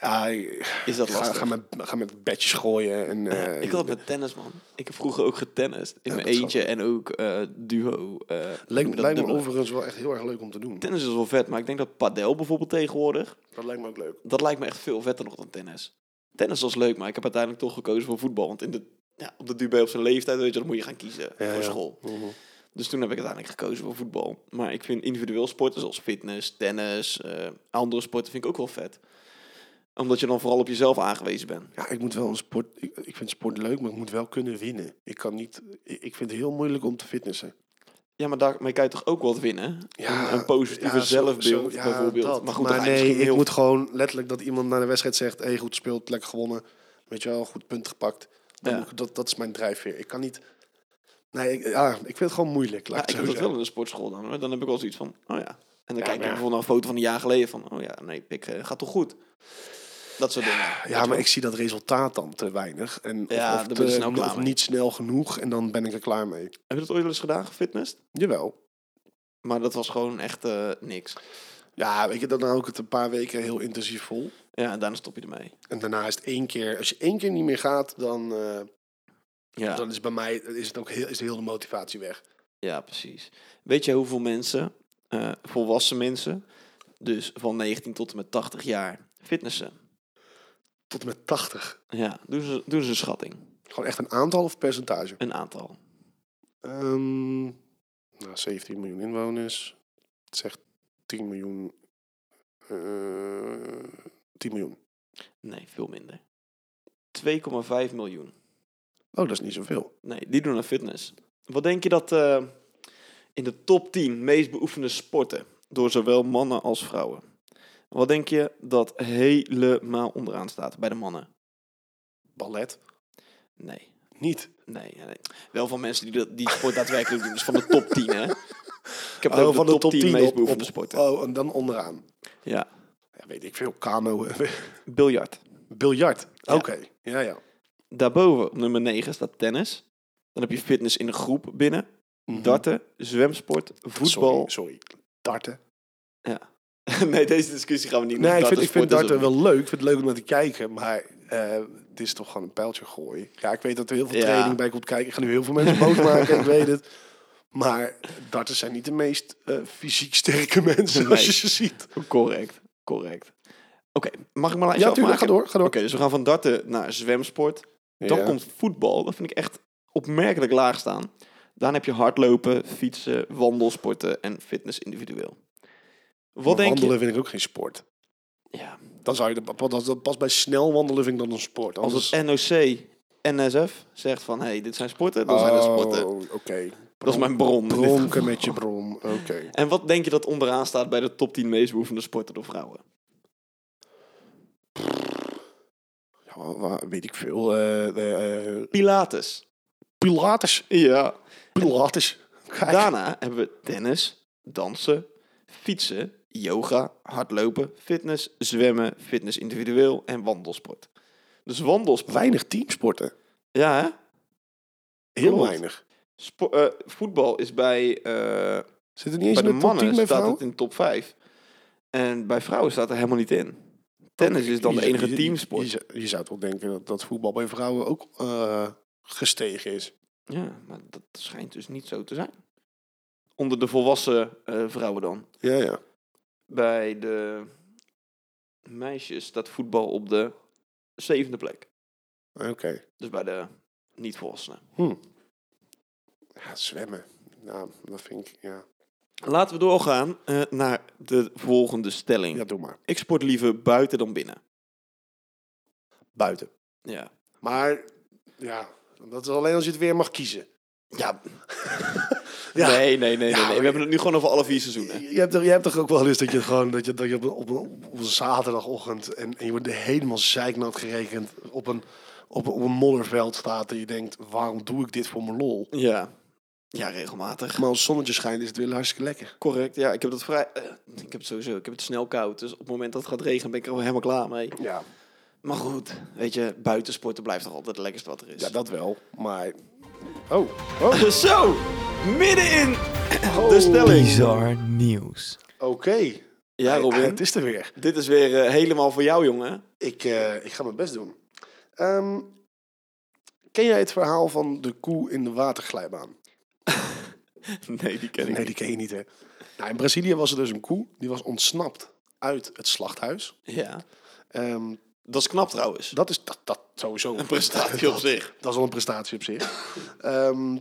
S2: Ja,
S1: Is dat
S2: ga,
S1: lastig?
S2: ga, met, ga met bedjes gooien. En, eh,
S1: Ik had het met tennis, man. Ik heb vroeger ook getennist. In
S2: Ja,
S1: mijn
S2: dat snap
S1: eentje en ook eh, duo. eh, hoe
S2: Lijkt,
S1: noem je dat,
S2: lijkt me
S1: dubbele?
S2: overigens wel echt heel erg leuk om te doen.
S1: Tennis is wel vet, maar ik denk dat padel bijvoorbeeld tegenwoordig...
S2: Dat lijkt me ook leuk.
S1: Dat lijkt me echt veel vetter nog dan tennis. Tennis was leuk, maar ik heb uiteindelijk toch gekozen voor voetbal. Want in de, ja, op de duo op zijn leeftijd, weet je, dat moet je gaan kiezen
S2: Ja,
S1: voor
S2: ja.
S1: school.
S2: Mhm.
S1: Dus toen heb ik uiteindelijk gekozen voor voetbal. Maar ik vind individueel sporten zoals fitness, tennis, eh, andere sporten vind ik ook wel vet. Omdat je dan vooral op jezelf aangewezen bent.
S2: Ja, ik moet wel een sport. Ik, ik vind sport leuk, maar ik moet wel kunnen winnen. Ik kan niet. Ik, ik vind het heel moeilijk om te fitnessen.
S1: Ja, maar daarmee kan je toch ook wat winnen?
S2: Ja,
S1: een, een positieve
S2: ja, zo-
S1: zelfbeeld
S2: zo- ja,
S1: bijvoorbeeld.
S2: dat.
S1: Maar goed,
S2: maar
S1: dat ga je
S2: nee, ik
S1: misschien heel...
S2: moet gewoon letterlijk dat iemand naar de wedstrijd zegt: hey, goed gespeeld, lekker gewonnen. Weet je wel, goed punt gepakt. Dan
S1: Ja.
S2: moet ik- dat, dat is mijn drijfveer. Ik kan niet. Nee, ik, ja, ik vind het gewoon moeilijk.
S1: Ja,
S2: Laat
S1: ik
S2: ik
S1: heb dat
S2: het zo
S1: wel
S2: zeggen.
S1: in de sportschool dan. hoor. Dan heb ik wel zoiets van, oh ja. En dan kijk
S2: Ja,
S1: ik
S2: maar ja.
S1: bijvoorbeeld naar een foto van een jaar geleden van... Oh ja, nee, pik, eh, gaat toch goed? Dat soort dingen.
S2: Ja, maar ik zie dat resultaat dan te weinig. En of-
S1: Ja,
S2: of,
S1: daar
S2: te-
S1: ben je snel klaar
S2: of
S1: mee.
S2: niet snel genoeg en dan ben ik er klaar mee.
S1: Heb je dat ooit wel eens gedaan, gefitnessd?
S2: Jawel.
S1: Maar dat was gewoon echt eh, niks.
S2: Ja, weet je, dan hou ik het een paar weken heel intensief vol.
S1: Ja, en daarna stop je ermee.
S2: En daarna is het één keer, als je één keer niet meer gaat, dan, eh,
S1: Ja,
S2: dan is bij mij is het ook heel, is heel de motivatie weg.
S1: ja precies. Weet je hoeveel mensen, eh, volwassen mensen, dus van 19 tot en met 80 jaar, fitnessen?
S2: Tot en met 80.
S1: Ja, doen ze, doen ze een schatting.
S2: Gewoon echt een aantal of percentage?
S1: Een aantal.
S2: Ehm, nou, 17 miljoen inwoners. Het zegt 10 miljoen. eh 10 miljoen.
S1: Nee, veel minder. 2,5 miljoen.
S2: Oh, dat is niet zoveel.
S1: Nee, die doen aan fitness. Wat denk je dat eh, in de top 10 meest beoefende sporten door zowel mannen als vrouwen? Wat denk je dat helemaal onderaan staat bij de mannen?
S2: Ballet?
S1: Nee,
S2: Niet.
S1: nee, nee. nee. Wel van mensen die dat- die sport daadwerkelijk doen. Dus van de top 10, hè? Ik heb het
S2: Oh,
S1: over de, top, 10, meest
S2: op- op-
S1: beoefende sporten.
S2: Oh, en dan onderaan.
S1: Ja.
S2: Ja, weet ik veel. Kano.
S1: Biljart.
S2: Biljart.
S1: Ja.
S2: Oké. Ja, ja.
S1: Daarboven, op nummer 9, staat tennis. Dan heb je fitness in de groep binnen.
S2: Mhm.
S1: Darten, zwemsport, voetbal.
S2: Sorry. sorry. Darten.
S1: nee, deze discussie gaan we niet
S2: Nee, ik vind,
S1: dartensport
S2: ik vind
S1: is
S2: darten
S1: een-
S2: wel leuk. Ik vind het leuk om naar te kijken. Maar eh, het is toch gewoon een pijltje gooien. Ja, ik weet dat er heel veel
S1: Ja.
S2: training bij komt kijken. Ik ga nu heel veel mensen boos maken. Ik weet het. Maar darters zijn niet de meest eh, fysiek sterke mensen.
S1: Nee.
S2: Als je ze ziet.
S1: Correct, correct. Oké, mag ik maar lijstje
S2: Ja, tuurlijk.
S1: afmaken?
S2: Ga door. Ga door.
S1: Oké, dus we gaan van darten naar zwemsport. Dan
S2: Ja.
S1: komt voetbal. Dat vind ik echt opmerkelijk laag staan. Daarna heb je hardlopen, fietsen, wandelsporten en fitness individueel. Wat
S2: Maar
S1: denk
S2: wandelen vind ik ook geen sport.
S1: je? Ja,
S2: Dan zou je dat, dat, dat pas bij snel wandelen vind ik dan een sport.
S1: als
S2: Anders-
S1: het NOC, NSF zegt van... hé, hey, dit zijn sporten, dan zijn dat sporten.
S2: Oh, Oké.
S1: Dat is mijn bron. in dit
S2: Bronken
S1: geval.
S2: met je bron. Oké.
S1: En wat denk je dat onderaan staat bij de top 10 meest beoefende sporten door vrouwen?
S2: Ja, wa- wa- weet ik veel. eh eh, eh,
S1: Pilates.
S2: Pilates.
S1: Ja.
S2: Pilates. Kijk.
S1: Daarna hebben we tennis, dansen, fietsen, yoga, hardlopen, fitness, zwemmen, fitness individueel en wandelsport. Dus wandelsport.
S2: Weinig teamsporten.
S1: Ja, hè?
S2: Heel
S1: Klopt.
S2: weinig.
S1: Spo- eh, voetbal is bij, eh,
S2: Zit er niet
S1: bij de
S2: eens in de top 10
S1: mannen
S2: bij
S1: staat
S2: vrouwen?
S1: het in de top 5. En bij vrouwen staat er helemaal niet in. Tennis is dan de
S2: Je-
S1: enige
S2: je- Je,
S1: teamsport.
S2: zou- je zou toch denken dat, dat voetbal bij vrouwen ook eh, gestegen is.
S1: Ja, maar dat schijnt dus niet zo te zijn. Onder de volwassen eh, vrouwen dan.
S2: Ja, ja.
S1: Bij de meisjes staat voetbal op de zevende plek.
S2: Oké.
S1: Dus bij de niet-volwassenen.
S2: Ja, zwemmen. Ja, dat vind ik... Ja,
S1: Laten we doorgaan eh, naar de volgende stelling.
S2: ja doe maar.
S1: Ik sport liever buiten dan binnen.
S2: Buiten.
S1: Ja.
S2: Maar, ja... Dat is alleen als je het weer mag kiezen.
S1: Ja.
S2: Ja.
S1: Nee, nee, nee, nee,
S2: Ja,
S1: nee.
S2: maar-
S1: We hebben het nu gewoon over alle vier seizoenen.
S2: Je hebt, toch, je hebt toch ook wel eens dat je het gewoon dat je, dat je op, een- op, een- op een zaterdagochtend en, en je wordt helemaal zeiknat gerekend op een, op, een- op een modderveld staat en je denkt, waarom doe ik dit voor mijn lol?
S1: Ja. Ja, regelmatig.
S2: Maar als zonnetje schijnt is het weer hartstikke lekker.
S1: Correct. Ja, ik heb dat vrij... eh, ik heb het sowieso... Ik heb het snel koud. Dus op het moment dat het gaat regenen ben ik er wel helemaal klaar mee.
S2: Ja,
S1: Maar goed. Weet je, buitensporten blijft toch altijd het lekkerste wat er is.
S2: ja dat wel, maar... Oh, oh.
S1: Zo! Midden in de
S2: Oh.
S1: stelling.
S4: Bizar nieuws.
S2: oké.
S1: Ja, Robin.
S2: Het is er weer.
S1: Dit is weer eh, helemaal voor jou, jongen.
S2: Ik, eh, ik ga mijn best doen. Ehm, ken jij het verhaal van de koe in de waterglijbaan?
S1: Nee, die ken ik
S2: Nee, die ken je niet, hè? Nou, in Brazilië was er dus een koe, die was ontsnapt uit het slachthuis.
S1: niet. Ja.
S2: Ehm,
S1: Dat is knap trouwens.
S2: dat is dat, dat sowieso
S1: Een prestatie op zich.
S2: Dat is wel een prestatie op zich. Ehm,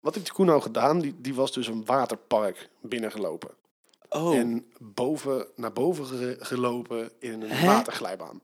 S2: wat heeft die koe nou gedaan? Die, die was dus een waterpark binnengelopen.
S1: Oh,
S2: En boven, naar boven ge- gelopen in een
S1: Hè?
S2: waterglijbaan.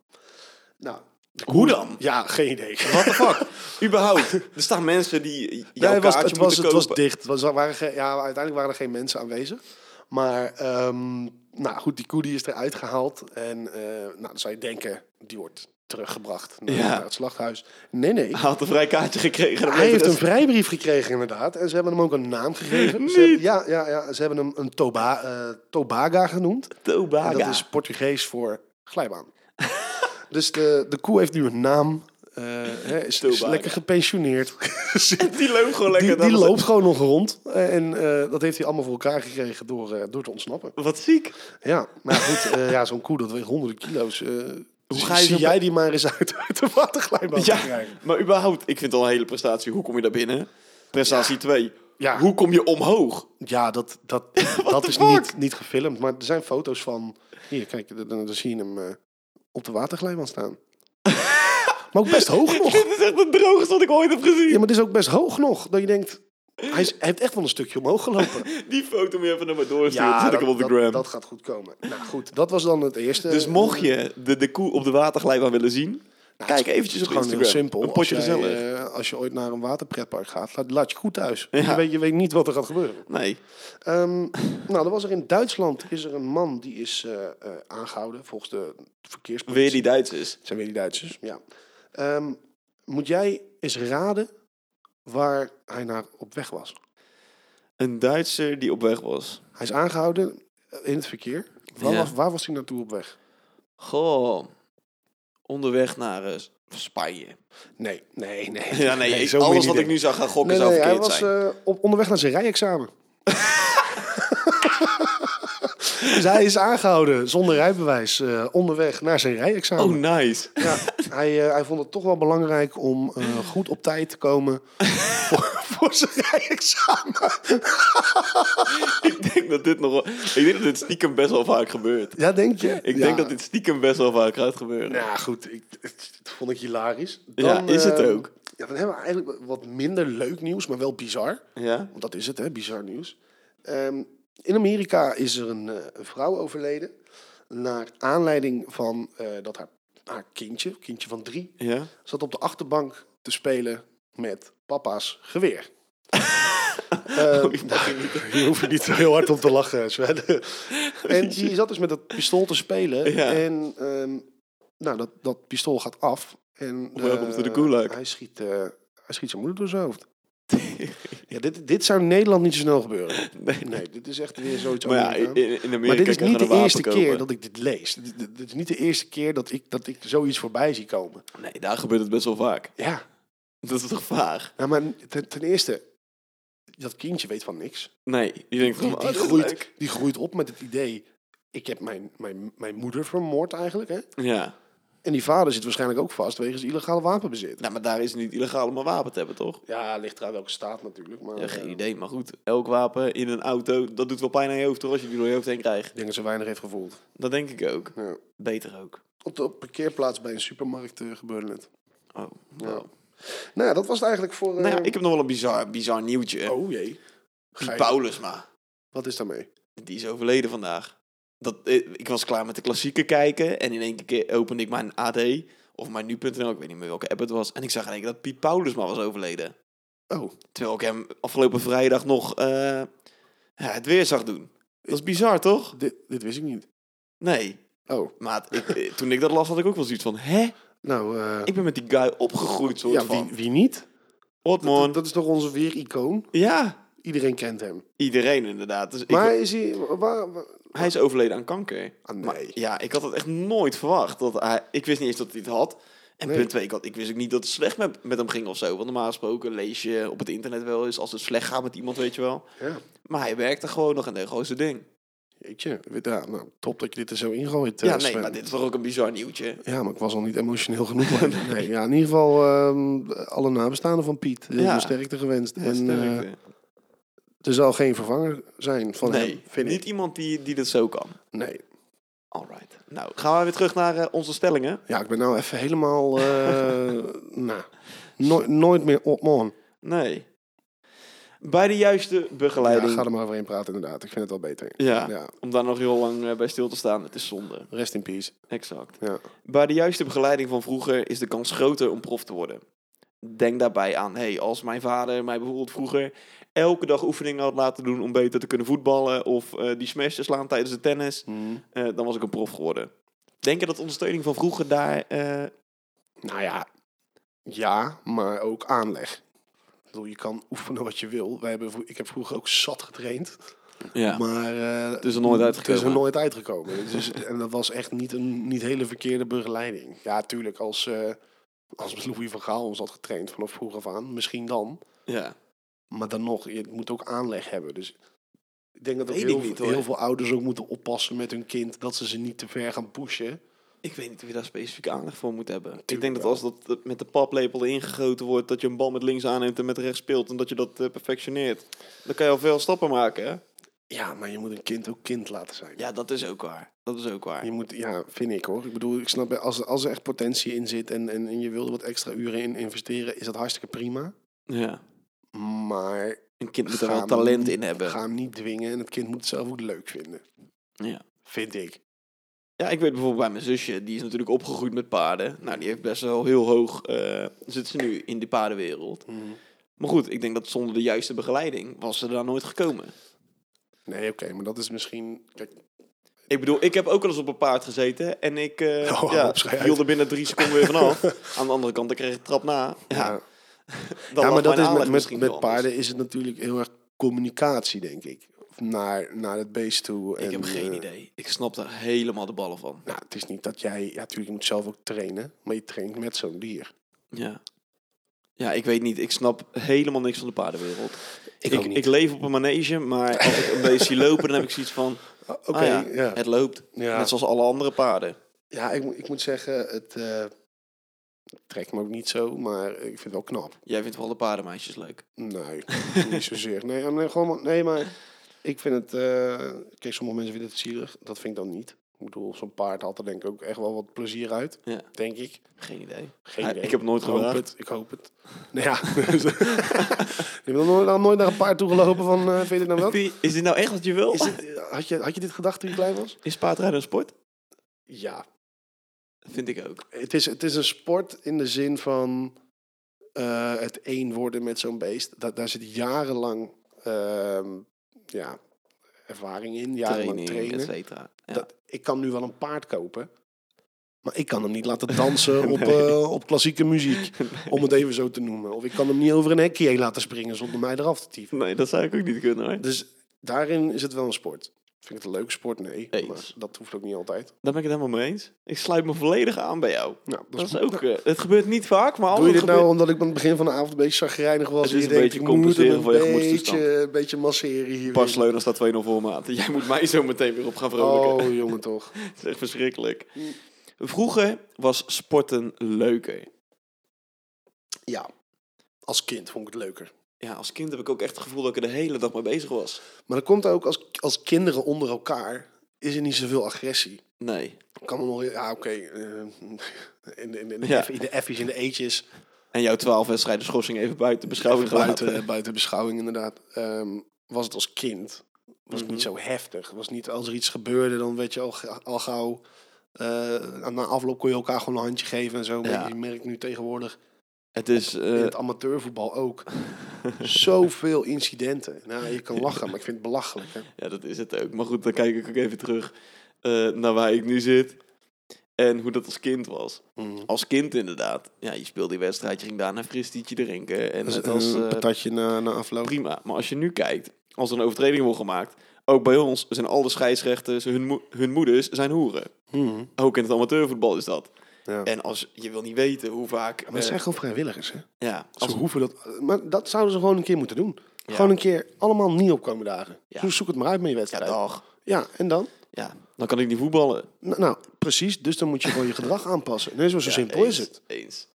S2: Nou,
S1: hoe dan?
S2: ja, geen idee.
S1: What the fuck? Überhaupt. Er staan mensen die jouw
S2: Ja, het was,
S1: kaartje
S2: het, was,
S1: moeten
S2: het was
S1: kopen.
S2: dicht. Het Was, er waren geen- ja, uiteindelijk waren er geen mensen aanwezig. Maar ehm, nou goed, die koe die is eruit gehaald. En eh, nou, dan zou je denken, die wordt teruggebracht naar,
S1: Ja.
S2: naar het slachthuis. Nee, nee.
S1: Hij had een vrij kaartje gekregen. dus
S2: Hij heeft een vrijbrief gekregen, inderdaad. En ze hebben hem ook een naam gegeven. Ze hebben, ja, ja, ja, ze hebben hem een toba, eh, Tobaga genoemd.
S1: Tobaga.
S2: En dat is Portugees voor glijbaan. Dus de, de koe heeft nu een naam. Eh, hè, is, is
S1: Stilbaar.
S2: lekker gepensioneerd.
S1: Die loopt gewoon lekker.
S2: die, die
S1: dan-
S2: loopt gewoon nog rond. Eh, en eh, dat heeft hij allemaal voor elkaar gekregen door, eh, door te ontsnappen.
S1: Wat ziek.
S2: Ja, maar goed, eh, ja, zo'n koe dat weegt honderden kilo's. eh, zie-
S1: ga je
S2: zie
S1: zo'n-
S2: jij die maar eens uit, uit de waterglijbaan te
S1: Ja,
S2: krijgen?
S1: maar überhaupt, ik vind het al een hele prestatie. Hoe kom je daar binnen? Prestatie 2.
S2: Ja.
S1: Hoe kom je omhoog?
S2: Ja, dat, dat, dat
S1: the
S2: is
S1: fuck?
S2: niet, niet gefilmd. Maar er zijn foto's van... Hier, kijk, dan, dan zie je hem eh, op de waterglijbaan staan. maar ook best hoog nog.
S1: Dit is echt het droogste wat ik ooit heb gezien.
S2: Ja, maar het is ook best hoog nog. Dat je denkt, hij, is, hij heeft echt wel een stukje omhoog gelopen.
S1: Die foto moet je even naar me doorsturen. dan zet ik
S2: dat,
S1: hem op de
S2: dat-
S1: gram.
S2: Dat, gaat goed komen. Nou goed, dat was dan het eerste.
S1: dus mocht je de, de koe op de waterglijbaan willen zien, kijk eventjes op
S2: Nou, Het is gewoon
S1: Instagram.
S2: heel simpel.
S1: Een potje
S2: als, jij,
S1: gezellig.
S2: eh, als je ooit naar een waterpretpark gaat, laat, laat je goed thuis. Je,
S1: Ja.
S2: weet, je weet niet wat er gaat gebeuren.
S1: Nee.
S2: Ehm, nou, dan was er in Duitsland is er een man die is eh, eh, aangehouden volgens de verkeerspolitie.
S1: Weer die Duitsers.
S2: Het zijn weer die Duitsers, ja. Ehm, moet jij eens raden waar hij naar op weg was?
S1: Een Duitser die op weg was.
S2: Hij is aangehouden eh, in het verkeer. Waar,
S1: Ja.
S2: was, waar was hij naartoe op weg?
S1: Goh. Onderweg naar eh, Spanje.
S2: Nee, nee, nee.
S1: Ja, nee.
S2: Nee,
S1: ik-
S2: zo moet je
S1: alles wat ik
S2: niet denken.
S1: nu zou gaan gokken
S2: Nee,
S1: zou
S2: nee, hij
S1: verkeerd
S2: was
S1: zijn.
S2: eh, op onderweg naar zijn rijexamen. dus hij is aangehouden zonder rijbewijs eh, onderweg naar zijn rijexamen.
S1: oh, nice.
S2: Ja, hij, eh, hij vond het toch wel belangrijk om eh, goed op tijd te komen voor, voor zijn rijexamen.
S1: ik denk dat dit nog wel... Ik denk dat dit stiekem best wel vaak gebeurt.
S2: Ja, denk je?
S1: Ik
S2: Ja.
S1: denk dat dit stiekem best wel vaak gaat gebeuren.
S2: Nou goed, ik, het, het vond ik hilarisch.
S1: Ja, is het
S2: eh,
S1: ook.
S2: Ja, dan hebben we eigenlijk wat minder leuk nieuws, maar wel bizar.
S1: Ja?
S2: Want dat is het, hè, bizar nieuws. Ehm, in Amerika is er een, eh, een vrouw overleden. Naar aanleiding van eh, dat haar, haar kindje, kindje van drie,
S1: Ja?
S2: zat op de achterbank te spelen met papa's geweer. Ehm,
S1: Oh,
S2: je hoeft er niet zo heel hard op te lachen, Sven. en die zat dus met dat pistool te spelen.
S1: Ja.
S2: En ehm, nou, dat, dat pistool gaat af. En,
S1: Welcome to the
S2: eh,
S1: gulag.
S2: Hij schiet, eh, hij schiet zijn moeder door zijn hoofd. ja, dit, dit zou in Nederland niet zo snel gebeuren.
S1: Nee.
S2: Nee, dit is echt weer zoiets
S1: Maar ja, in,
S2: Amerikaans.
S1: in Amerika
S2: Maar dit is
S1: kan je
S2: niet de
S1: een wapen
S2: eerste
S1: kopen.
S2: keer dat ik dit lees. Dit, dit- dit is niet de eerste keer dat ik, dat ik zoiets voorbij zie komen.
S1: Nee, daar gebeurt het best wel vaak.
S2: Ja,
S1: Dat is toch vaag?
S2: nou, maar ten, ten eerste, dat kindje weet van niks.
S1: Nee, je denkt
S2: Die,
S1: gewoon,
S2: die,
S1: oh, dit is
S2: groeit,
S1: leuk.
S2: die groeit op met het idee, ik heb mijn, mijn, mijn moeder vermoord eigenlijk. Hè?
S1: Ja.
S2: En die vader zit waarschijnlijk ook vast wegens illegale wapenbezit.
S1: Nou, maar daar is het niet illegaal om een wapen te hebben, toch?
S2: Ja, ligt eraan welke staat natuurlijk. Maar,
S1: Ja,
S2: eh,
S1: geen idee, maar goed. Elk wapen in een auto, dat doet wel pijn aan je hoofd, toch? Als je die door je hoofd heen krijgt.
S2: Ik denk dat ze weinig heeft gevoeld.
S1: Dat denk ik ook.
S2: Ja.
S1: Beter ook.
S2: Op de parkeerplaats bij een supermarkt eh, gebeurde het.
S1: Oh, wow.
S2: Nou ja, dat was het eigenlijk voor... eh,
S1: Nou ja, ik heb nog wel een bizar, bizar nieuwtje.
S2: Oh jee.
S1: Die
S2: Geil.
S1: Paulusma,
S2: Wat is daarmee?
S1: die is overleden vandaag. Dat, eh, ik was klaar met de klassieken kijken en in één keer opende ik mijn AD of mijn nu.nl, ik weet niet meer welke app het was. En ik zag in één keer dat Piet Paulusma was overleden.
S2: Oh,
S1: Terwijl ik hem afgelopen vrijdag nog eh, ja, het weer zag doen. Dat is bizar, toch?
S2: dit, dit wist ik niet.
S1: Nee.
S2: Oh,
S1: Maar toen ik dat las, had ik ook wel zoiets van... Hè?
S2: nou... eh,
S1: Ik ben met die guy opgegroeid, soort
S2: ja,
S1: van.
S2: wie, wie niet?
S1: Hot
S2: Dat,
S1: man.
S2: dat is toch onze weer-icoon?
S1: Ja,
S2: Iedereen kent hem.
S1: iedereen inderdaad. Dus
S2: Maar
S1: ik,
S2: is hij... Waar, waar-
S1: hij is overleden aan kanker.
S2: Ah, nee.
S1: Maar ja, ik had het echt nooit verwacht. Dat hij, ik wist niet eens dat hij het had. En
S2: Nee.
S1: punt twee, ik, had, ik wist ook niet dat het slecht met, met hem ging of zo. Want normaal gesproken lees je op het internet wel eens... als het slecht gaat met iemand, weet je wel.
S2: ja.
S1: Maar hij werkte gewoon nog en deed gewoon zijn ding.
S2: Jeetje. Ja, nou, top dat je dit er zo ingooit. eh,
S1: Ja, nee,
S2: Sven.
S1: maar dit is toch ook een bizar nieuwtje.
S2: Ja, maar ik was al niet emotioneel genoeg. Maar nee, ja, in ieder geval ehm, alle nabestaanden van Piet. Heel
S1: Ja.
S2: veel sterkte gewenst. en
S1: Sterkte.
S2: eh, er zal geen vervanger zijn van
S1: oh, nee,
S2: hem, vind
S1: niet
S2: ik.
S1: iemand die, die dat zo kan.
S2: Nee.
S1: Alright. Nou, gaan we weer terug naar eh, onze stellingen.
S2: Ja, ik ben nou even helemaal... eh, nou, nooit- nooit meer op man.
S1: Nee. Bij de juiste
S2: Ja,
S1: begeleiding. Ja,
S2: ga er maar overheen praten inderdaad. Ik vind het wel beter. Ja.
S1: om daar nog heel lang eh, bij stil te staan, het is zonde.
S2: Rest in peace.
S1: Exact.
S2: Ja.
S1: Bij de juiste begeleiding van vroeger is de kans groter om prof te worden. Denk daarbij aan, hey, als mijn vader mij bijvoorbeeld vroeger elke dag oefeningen had laten doen om beter te kunnen voetballen of eh, die smash te slaan tijdens de tennis, eh, dan was ik een prof geworden. Denk je dat ondersteuning van vroeger daar... eh,
S2: Nou ja, ja, maar ook aanleg. Ik bedoel, je kan oefenen wat je wil. Wij hebben, vro- ik heb vroeger ook zat getraind.
S1: Ja.
S2: Maar eh, het
S1: is er nooit
S2: Het is
S1: uitgekomen.
S2: er nooit uitgekomen. Dus, en dat was echt niet een niet hele verkeerde begeleiding. Ja, tuurlijk, als, eh, als Louis van Gaal ons had getraind vanaf vroeg af aan, misschien dan.
S1: ja.
S2: Maar dan nog, je moet ook aanleg hebben. Dus ik denk dat ook
S1: Weet ik
S2: heel,
S1: niet, hoor.
S2: heel veel ouders ook moeten oppassen met hun kind dat ze ze niet te ver gaan pushen.
S1: Ik weet niet of je daar specifiek aandacht voor moet hebben. ik
S2: Tuurlijk
S1: denk dat
S2: wel.
S1: als dat eh, met de paplepel ingegoten wordt, dat je een bal met links aanneemt en met rechts speelt en dat je dat eh, perfectioneert. Dan kan je al veel stappen maken, hè?
S2: Ja, maar je moet een kind ook kind laten zijn.
S1: Ja, dat is ook waar. Dat is ook waar.
S2: Je moet, ja, vind ik hoor. Ik bedoel, ik snap, als, als er echt potentie in zit en, en, en je wil er wat extra uren in investeren, is dat hartstikke prima.
S1: Ja.
S2: Maar
S1: Een kind moet er
S2: Ga
S1: wel
S2: hem
S1: talent
S2: niet-
S1: in hebben.
S2: ga hem niet dwingen en het kind moet het zelf ook leuk vinden.
S1: Ja.
S2: Vind ik.
S1: Ja, ik weet bijvoorbeeld bij mijn zusje, die is natuurlijk opgegroeid met paarden. Nou, die heeft best wel heel hoog, eh, zit ze nu in de paardenwereld. Maar goed, ik denk dat zonder de juiste begeleiding was ze daar nooit gekomen.
S2: Nee, oké, maar dat is misschien. Kijk,
S1: Ik bedoel, ik heb ook al eens op een paard gezeten en ik eh,
S2: Oh,
S1: ja,
S2: hop, schei uit.
S1: viel er binnen drie seconden weer vanaf. Aan de andere kant, ik kreeg ik trap na. Ja,
S2: ja,
S1: dan
S2: ja
S1: lag
S2: maar dat
S1: mijn
S2: is
S1: aanleg
S2: met,
S1: misschien
S2: met,
S1: wel dus.
S2: met
S1: anders.
S2: paarden is het natuurlijk heel erg communicatie, denk ik. Naar, naar het beest toe.
S1: Ik
S2: en,
S1: heb geen
S2: eh,
S1: idee. Ik snap daar helemaal de ballen van.
S2: Nou, het is niet dat jij. Ja, natuurlijk, je moet zelf ook trainen, maar je traint met zo'n dier.
S1: Ja. Ja, ik weet niet. Ik snap helemaal niks van de paardenwereld. Ik,
S2: ook
S1: ik,
S2: niet.
S1: leef op een manege, maar als ik een beetje zie lopen, dan heb ik zoiets van...
S2: Oké,
S1: ah ja,
S2: ja.
S1: het loopt.
S2: Ja.
S1: Net zoals alle andere paarden.
S2: Ja, ik, moet- ik moet zeggen, het eh, trekt me ook niet zo, maar ik vind het wel knap.
S1: Jij vindt wel de paardenmeisjes leuk.
S2: Nee, niet zozeer. Nee, maar gewoon, nee, maar ik vind het... eh, kijk, sommige mensen vinden het zielig. Dat vind ik dan niet. Ik bedoel, zo'n paard haalt er denk ik ook echt wel wat plezier uit.
S1: Ja.
S2: Denk ik.
S1: Geen idee.
S2: Geen
S1: Ah,
S2: idee.
S1: ik heb nooit
S2: hoop
S1: gevraagd.
S2: het. Ik hoop het. Nou ja. je bent nog nooit, nog nooit naar een paard toe gelopen van, eh, vind je dit nou wat?
S1: Vind je- Is dit nou echt wat je wil? Is,
S2: Is dit, had, je, had je dit gedacht toen je klein was?
S1: paardrijden een sport?
S2: Ja.
S1: Vind ik ook.
S2: Het is, het is een sport in de zin van eh, het één worden met zo'n beest. Da daar zit jarenlang ehm, ja, ervaring in, jarenlang
S1: Training,
S2: trainen.
S1: et cetera. Ja.
S2: Dat, ik kan nu wel een paard kopen, maar ik kan hem niet laten dansen op,
S1: Nee.
S2: eh, op klassieke muziek, om het even zo te noemen. Of ik kan hem niet over een hekje heen laten springen zonder mij eraf te tieven.
S1: Nee, dat zou ik ook niet kunnen hoor.
S2: Dus daarin is het wel een sport. Vind ik het een leuke sport? Nee,
S1: Eens.
S2: maar dat hoeft ook niet altijd.
S1: Daar ben ik het helemaal mee eens. Ik sluit me volledig aan bij jou.
S2: Nou,
S1: Dat is ook... eh, het gebeurt niet vaak, maar als
S2: Doe je
S1: het
S2: dit nou
S1: gebeurt-
S2: omdat ik aan het begin van de avond een beetje zagrijnig was?
S1: Het
S2: en
S1: is
S2: je
S1: een
S2: denkt,
S1: beetje
S2: ik moet hem
S1: compenseren voor je
S2: een
S1: gemoedstoestand.
S2: beetje, een beetje masseren hier. weer.
S1: Barcelona staat 2-0 voor maat. Jij moet mij zo meteen weer op gaan vrolijken.
S2: Oh, Mm. jongen toch.
S1: Het is echt verschrikkelijk. Vroeger was sporten leuker.
S2: Ja, als kind vond ik het leuker.
S1: Ja, als kind heb ik ook echt het gevoel dat ik er de hele dag mee bezig was.
S2: Maar dat komt ook als, als kinderen onder elkaar is er niet zoveel agressie.
S1: Nee.
S2: Kan er nog, ja oké, eh, in, in, in, de
S1: Ja.
S2: F- in de F's, in de E'tjes.
S1: En jouw twaalf wedstrijden schorsing even buiten beschouwing
S2: Even
S1: gelaten.
S2: buiten, buiten beschouwing inderdaad. Ehm, was het als kind, was het niet
S1: Mhm.
S2: zo heftig. Was niet als er iets gebeurde, dan werd je al, ga- al gauw... eh, na afloop kon je elkaar gewoon een handje geven en zo. Maar
S1: Ja.
S2: je merkt nu tegenwoordig
S1: Het is... eh,
S2: in het amateurvoetbal ook zoveel incidenten. Nou, je kan lachen, maar ik vind het belachelijk. Hè?
S1: ja, dat is het ook. Maar goed, dan kijk ik ook even terug eh, naar waar ik nu zit. En hoe dat als kind was.
S2: Mhm.
S1: Als kind inderdaad. Ja, je speelde die wedstrijd, je ging daarna een fristietje drinken. En
S2: Dat
S1: het
S2: is als,
S1: was
S2: een
S1: eh,
S2: patatje na, na afloop.
S1: prima. Maar als je nu kijkt, als er een overtreding wordt gemaakt... Ook bij ons zijn alle scheidsrechters, hun, mo- hun moeders zijn hoeren.
S2: Mhm.
S1: Ook in het amateurvoetbal is dat.
S2: Ja.
S1: En als je wil niet weten hoe vaak.
S2: Maar het
S1: eh,
S2: zijn gewoon vrijwilligers, hè?
S1: ja,
S2: Ze
S1: als,
S2: hoeven dat... eh, Maar dat zouden ze gewoon een keer moeten doen. Gewoon een keer allemaal niet opkomen dagen.
S1: Ja.
S2: Zo zoek het maar uit met je
S1: ja,
S2: wedstrijd.
S1: dag.
S2: ja en dan?
S1: Ja, dan kan ik niet voetballen.
S2: Nou, nou, precies. Dus dan moet je gewoon je gedrag aanpassen. Nee, zo, zo simpel
S1: Eens,
S2: is het.
S1: Eens.